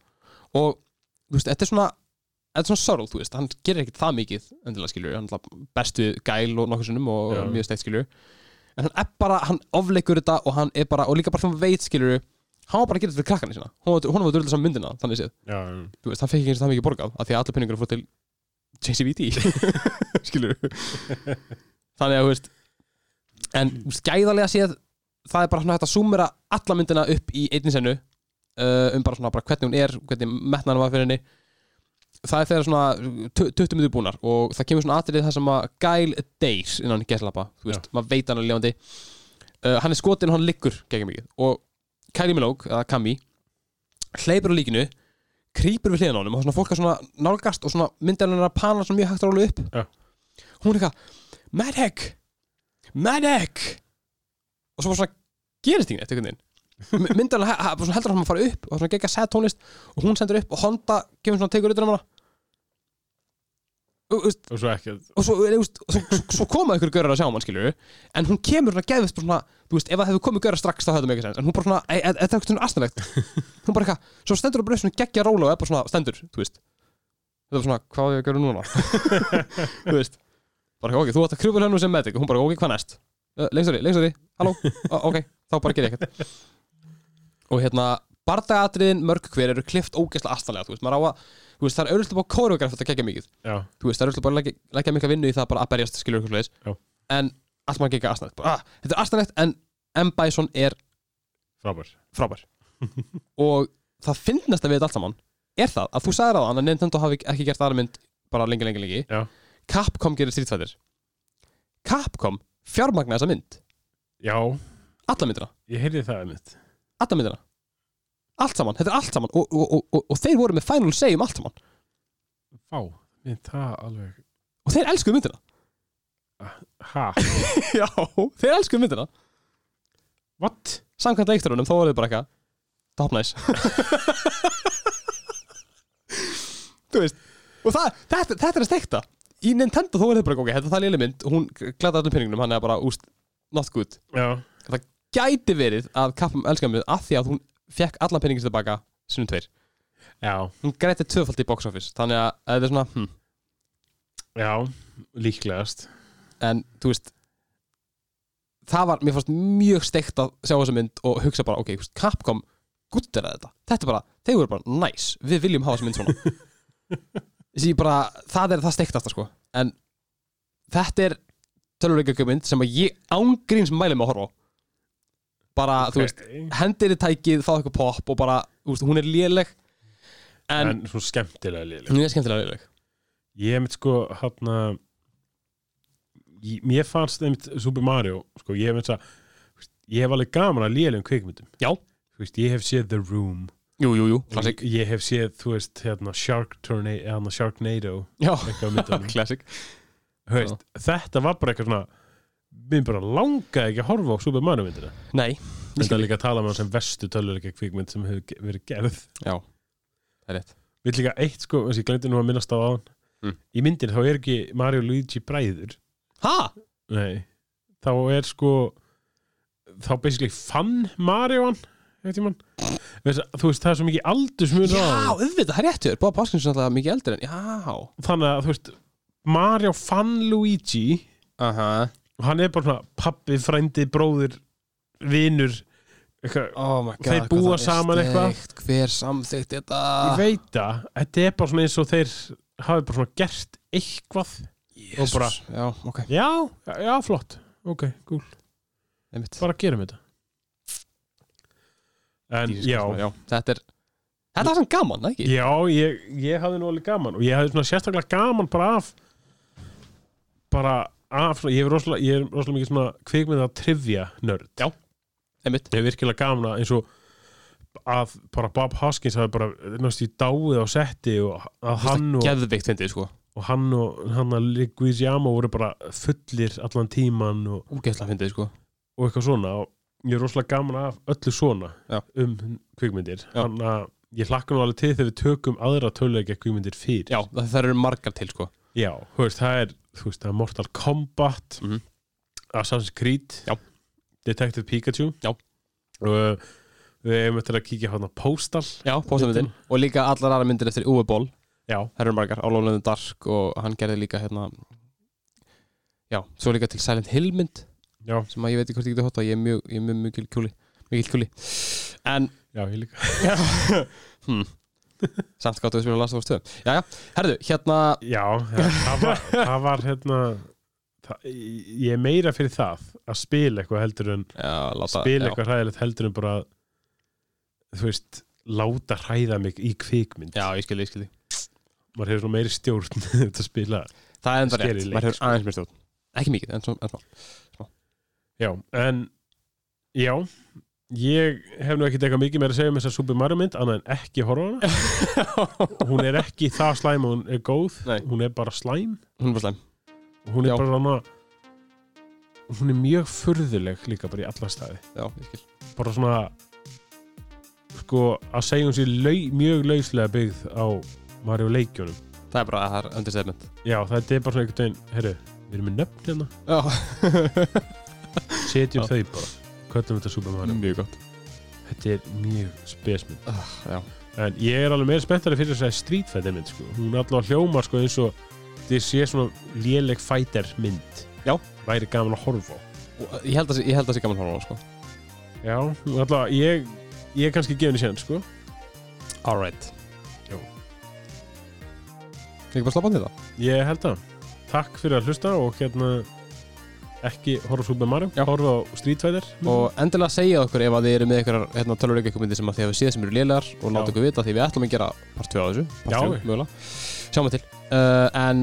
Speaker 1: og þú veist, þetta er svona þetta er svona sorgl, þú veist, hann gerir ekkert það mikið endilega skiljur, hann er best við gæl og nokkur sinnum og
Speaker 2: Já.
Speaker 1: mjög steikt skiljur en hann er bara, hann ofleikur þetta og hann er bara, og líka bara þegar hann veit skiljur hann var bara að gera þetta fyrir krakkana sína hún var, hún var dörðlega saman myndina, þannig séð
Speaker 2: já,
Speaker 1: þú veist, hann fekk ekki eins og það mikið borgað af því að allir peningur fór til JCVD skilur þannig að, þú veist en þú veist, gæðarlega séð það er bara svona hægt að súmera alla myndina upp í einni senu uh, um bara svona bara hvernig hún er, hvernig metnaðan var fyrir henni það er þegar svona tu- 20 minnur búnar og það kemur svona atrið það sem að gæl deyr innan gæslappa, þú veist, maður veit hann er lefandi uh, hann er skotin og hann liggur gegn mikið og Kylie Minogue, eða Kami hleypur á líkinu krýpur við hliðan á honum og svona fólk að svona nálgast og svona myndar hennar að pana svona mjög hægt rólu upp
Speaker 2: Já.
Speaker 1: hún er eitthvað medic medic og svo bara svona gerist ekki neitt einhvern veginn My- myndar hennar bara svona heldur hann að fara upp og svona gegga sæð tónlist og hún sendur upp og Honda kemur svona tegur utan um hana og, þú veist,
Speaker 2: og svo ekki
Speaker 1: og svo, eða, þú veist, svo, svo, svo koma ykkur görður að sjá mann skilur en hún kemur svona geðvist bara svona þú veist, ef það hefur komið görður strax þá hefði mikið sens en hún bara svona, e- e- þetta er eitthvað svona astanlegt hún bara eitthvað, svo stendur hún bara upp svona geggja róla og er bara svona stendur, þú veist þetta var svona, hvað á ég að gera núna þú veist, bara eitthvað, ok, þú átt að krjúpa hennu sem medic og hún bara, ok, hvað næst uh, leikstari, leikstari, halló, uh, ok þá bara ger ég eitthvað og hérna, bardagatriðin mörg hver eru klift ógeðslega astanlega, þú veist, maður á að þú veist, það er auðvitað bara koreograf þetta kekja mikið
Speaker 2: já,
Speaker 1: þú veist, það er auðvitað bara að leggja- leggja mikla vinnu í það bara að berjast skilur ykkur leis
Speaker 2: Já.
Speaker 1: en allt maður gekk astanett ah, þetta er astanett en M. Bison er
Speaker 2: frábær
Speaker 1: frábær og það finnast að við þetta allt saman er það að þú sagðir að hann að Nintendo hafi ekki gert aðra mynd bara lengi, lengi, lengi
Speaker 2: Já.
Speaker 1: Capcom gerir strítfæðir Capcom fjármagna þessa mynd
Speaker 2: Já,
Speaker 1: alla myndina,
Speaker 2: ég heyrði það einmitt
Speaker 1: alla myndina allt saman, þetta er allt saman og, og, og, og, og þeir voru með final say um allt saman
Speaker 2: Vá, minn það alveg
Speaker 1: og þeir elskuðu myndina
Speaker 2: Ha,
Speaker 1: já, þeir elskuðu myndina
Speaker 2: what?
Speaker 1: samkvæmt leikstörunum, þá voru þið bara eitthvað top nice þú veist og það, þetta, þetta er að stekta í Nintendo þó er þetta bara ok, þetta er það léli mynd hún glæði allir peningunum, hann er bara úst not good,
Speaker 2: Já,
Speaker 1: það gæti verið að kappum elskamið að því að hún fekk alla peningin sem tilbaka sinum tveir
Speaker 2: já,
Speaker 1: hún græti tvöfaldi í box office þannig að þetta er svona, hm,
Speaker 2: já, líklegast
Speaker 1: en þú veist það var, mér fannst mjög steikt að sjá þessa mynd og hugsa bara, ok, þú veist, Capcom guttir að þetta, þetta er bara, þeir voru bara næs, nice. við viljum hafa þessa mynd svona þessi ég bara, það er það steiktasta sko, en þetta er tölvuleika mynd sem að ég ángríns mæli með að horfa á bara, þú veist, hendir í tækið fá eitthvað pop og bara, þú veist, hún er léleg
Speaker 2: En,
Speaker 1: en,
Speaker 2: svo skemmtilega léleg
Speaker 1: hún er skemmtilega léleg
Speaker 2: Ég hef mitt sko, hann Mér fannst einmitt Super Mario, sko, ég hef mitt að Ég hef alveg gaman að lélegum kvikmyndum
Speaker 1: já,
Speaker 2: Þú veist, ég hef séð The Room
Speaker 1: jú, jú, jú,
Speaker 2: ég,
Speaker 1: klassik
Speaker 2: ég hef séð, þú veist, hérna Shark Tornado, hérna Sharknado
Speaker 1: já,
Speaker 2: eitthvað á myndunum.
Speaker 1: klassik
Speaker 2: Þú veist, Þetta var bara eitthvað svona Mér bara langaði ekki að horfa á Super Mario myndina
Speaker 1: nei, Ég
Speaker 2: Þetta
Speaker 1: skil
Speaker 2: er líka að tala með hann sem verstu töluleika kvikmynd sem hefur ge- verið gerð
Speaker 1: já, það er rétt
Speaker 2: Við líka eitt sko, þessi ég glemdi nú að minnast á aðan
Speaker 1: Mm.
Speaker 2: Í myndin þá er ekki Mario og Luigi bræður
Speaker 1: Hæ?
Speaker 2: Nei Þá er sko Þá basically fann Mario hann Þú veist, þú veist, það er svo mikið aldursmunur á
Speaker 1: Já,
Speaker 2: honum.
Speaker 1: auðvitað, það er réttur. Bob Hoskins er alltaf mikið eldri en, já.
Speaker 2: Þannig að þú veist Mario fann Luigi
Speaker 1: Aha.
Speaker 2: og hann er bara svona pappi, frændi, bróðir vinur eitthvað,
Speaker 1: Oh my god.
Speaker 2: Þeir
Speaker 1: hvað
Speaker 2: búa
Speaker 1: það er
Speaker 2: saman eitthvað.
Speaker 1: steikt. Hver samþygt þetta?
Speaker 2: Ég veit það, þetta er bara svona eins og þeir hafi bara svona gert eitthvað
Speaker 1: Jesus.
Speaker 2: og bara-
Speaker 1: Já, ok.
Speaker 2: Já, já, flott Ok, cool,
Speaker 1: Einmitt.
Speaker 2: bara gerum þetta En
Speaker 1: Jesus,
Speaker 2: já,
Speaker 1: já. Þetta er, þetta er svona gaman, það ekki?
Speaker 2: já ég, ég hafði nú alveg gaman og ég hafði svona sérstaklega gaman bara af bara af svona, ég er rosalega, ég er rosalega mikið svona kvikmynd að trivja nörd Já
Speaker 1: Einmitt.
Speaker 2: ég er virkilega gaman að eins og að bara Bob Hoskins hafi bara náttúrulega í dáið á setti og að hann og
Speaker 1: Geðvikt fyndið, sko.
Speaker 2: og hann og hann að Liguizjama voru bara fullir allan tíman og,
Speaker 1: Úgeðslega fyndið, sko.
Speaker 2: og eitthvað svona og ég er rosalega gaman af öllu svona
Speaker 1: Já.
Speaker 2: um kvikmyndir
Speaker 1: Já.
Speaker 2: hann að ég hlakka nú alveg til þegar við tökum aðra töluleikja kvikmyndir fyrir
Speaker 1: Já, það, það eru margar til, sko.
Speaker 2: Já, þú veist, það er, þú veist, það er Mortal Kombat
Speaker 1: Mhm.
Speaker 2: Assassin's Creed
Speaker 1: Já.
Speaker 2: Detective Pikachu
Speaker 1: Já.
Speaker 2: og við hefum eftir að kíkja hann að Postal
Speaker 1: Já, póstamöndin. Og líka allar aðra myndir eftir Uwe Boll.
Speaker 2: Já,
Speaker 1: Það eru margar. All Alone in the Dark og hann gerði líka, hérna, já, svo líka til Silent Hill mynd
Speaker 2: já,
Speaker 1: sem að ég veit ekki hvort ég geti hótt á. Ég er mjög, ég er mjög, mjög kjúli. Mikið kjúli. En
Speaker 2: já, ég líka
Speaker 1: hmm. Samt gáttu við spila Last of Us 2 Jæja, herðu, hérna
Speaker 2: Já, það það var, það var hérna það, ég er meira fyrir það að spila eitthvað heldur en
Speaker 1: já, láta,
Speaker 2: spila
Speaker 1: já.
Speaker 2: eitthvað hræðilegt heldur en bara að, þú veist, láta hræða mig í kvikmynd
Speaker 1: já, ég skilji, ég skilji
Speaker 2: maður hefur svona meiri stjórn þetta að spila
Speaker 1: Það er enda
Speaker 2: Skeri
Speaker 1: rétt,
Speaker 2: leik,
Speaker 1: maður hefur
Speaker 2: sko.
Speaker 1: aðeins mér stjórn Ekki mikið, en svona en smá.
Speaker 2: Já, en já, ég hef nú ekkert eitthvað mikið meira að segja um þessa Super Mario mynd annað en ekki horfa á hana hún er ekki það slæm og hún er góð
Speaker 1: Nei.
Speaker 2: hún er bara slæm
Speaker 1: Hún var slæm
Speaker 2: hún er
Speaker 1: Já.
Speaker 2: bara svona hún er mjög furðuleg líka bara í alla staði
Speaker 1: Já, ég skil
Speaker 2: bara svona sko að segja hún sér lau, mjög lauslega byggð á Mario leikjónum
Speaker 1: Það er bara að það er understatement
Speaker 2: já þetta er bara svona einhvern veginn herru, við erum með nöfn hérna
Speaker 1: Já
Speaker 2: setjum þau bara, kvöldum þetta Super Mario
Speaker 1: Mjög gott
Speaker 2: þetta er mjög spesmynd
Speaker 1: Já,
Speaker 2: En ég er alveg meira spenntari fyrir þess að Street Fighter mynd sko. Hún er allavega hljómar sko, eins og þið sé svona léleg fighter mynd
Speaker 1: Já.
Speaker 2: Væri gaman að horfa á
Speaker 1: Og ég held að sé- ég held að sé gaman horfa á, hana, sko
Speaker 2: Já, hún allavega ég, ég er kannski gefin í sén sko.
Speaker 1: Alright Ekki bara slappa á þetta
Speaker 2: Ég held það. Takk fyrir að hlusta og hérna ekki horfa á Super Mario,
Speaker 1: Já.
Speaker 2: horfa á Street Fighter
Speaker 1: Og endilega segja okkur ef að þið eru með einhverjar hérna, tölvuleika kommenti sem að þið hafa séð sem eru lélegar og láta
Speaker 2: Já.
Speaker 1: okkur vita því við ætlum að gera part 2 á þessu
Speaker 2: Já.
Speaker 1: part 3 mögulega Sjáum við til uh, En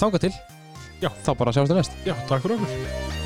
Speaker 1: þanga til
Speaker 2: Já.
Speaker 1: Þá bara sjáumst við næst
Speaker 2: Já, takk fyrir okkur.
Speaker 6: Thank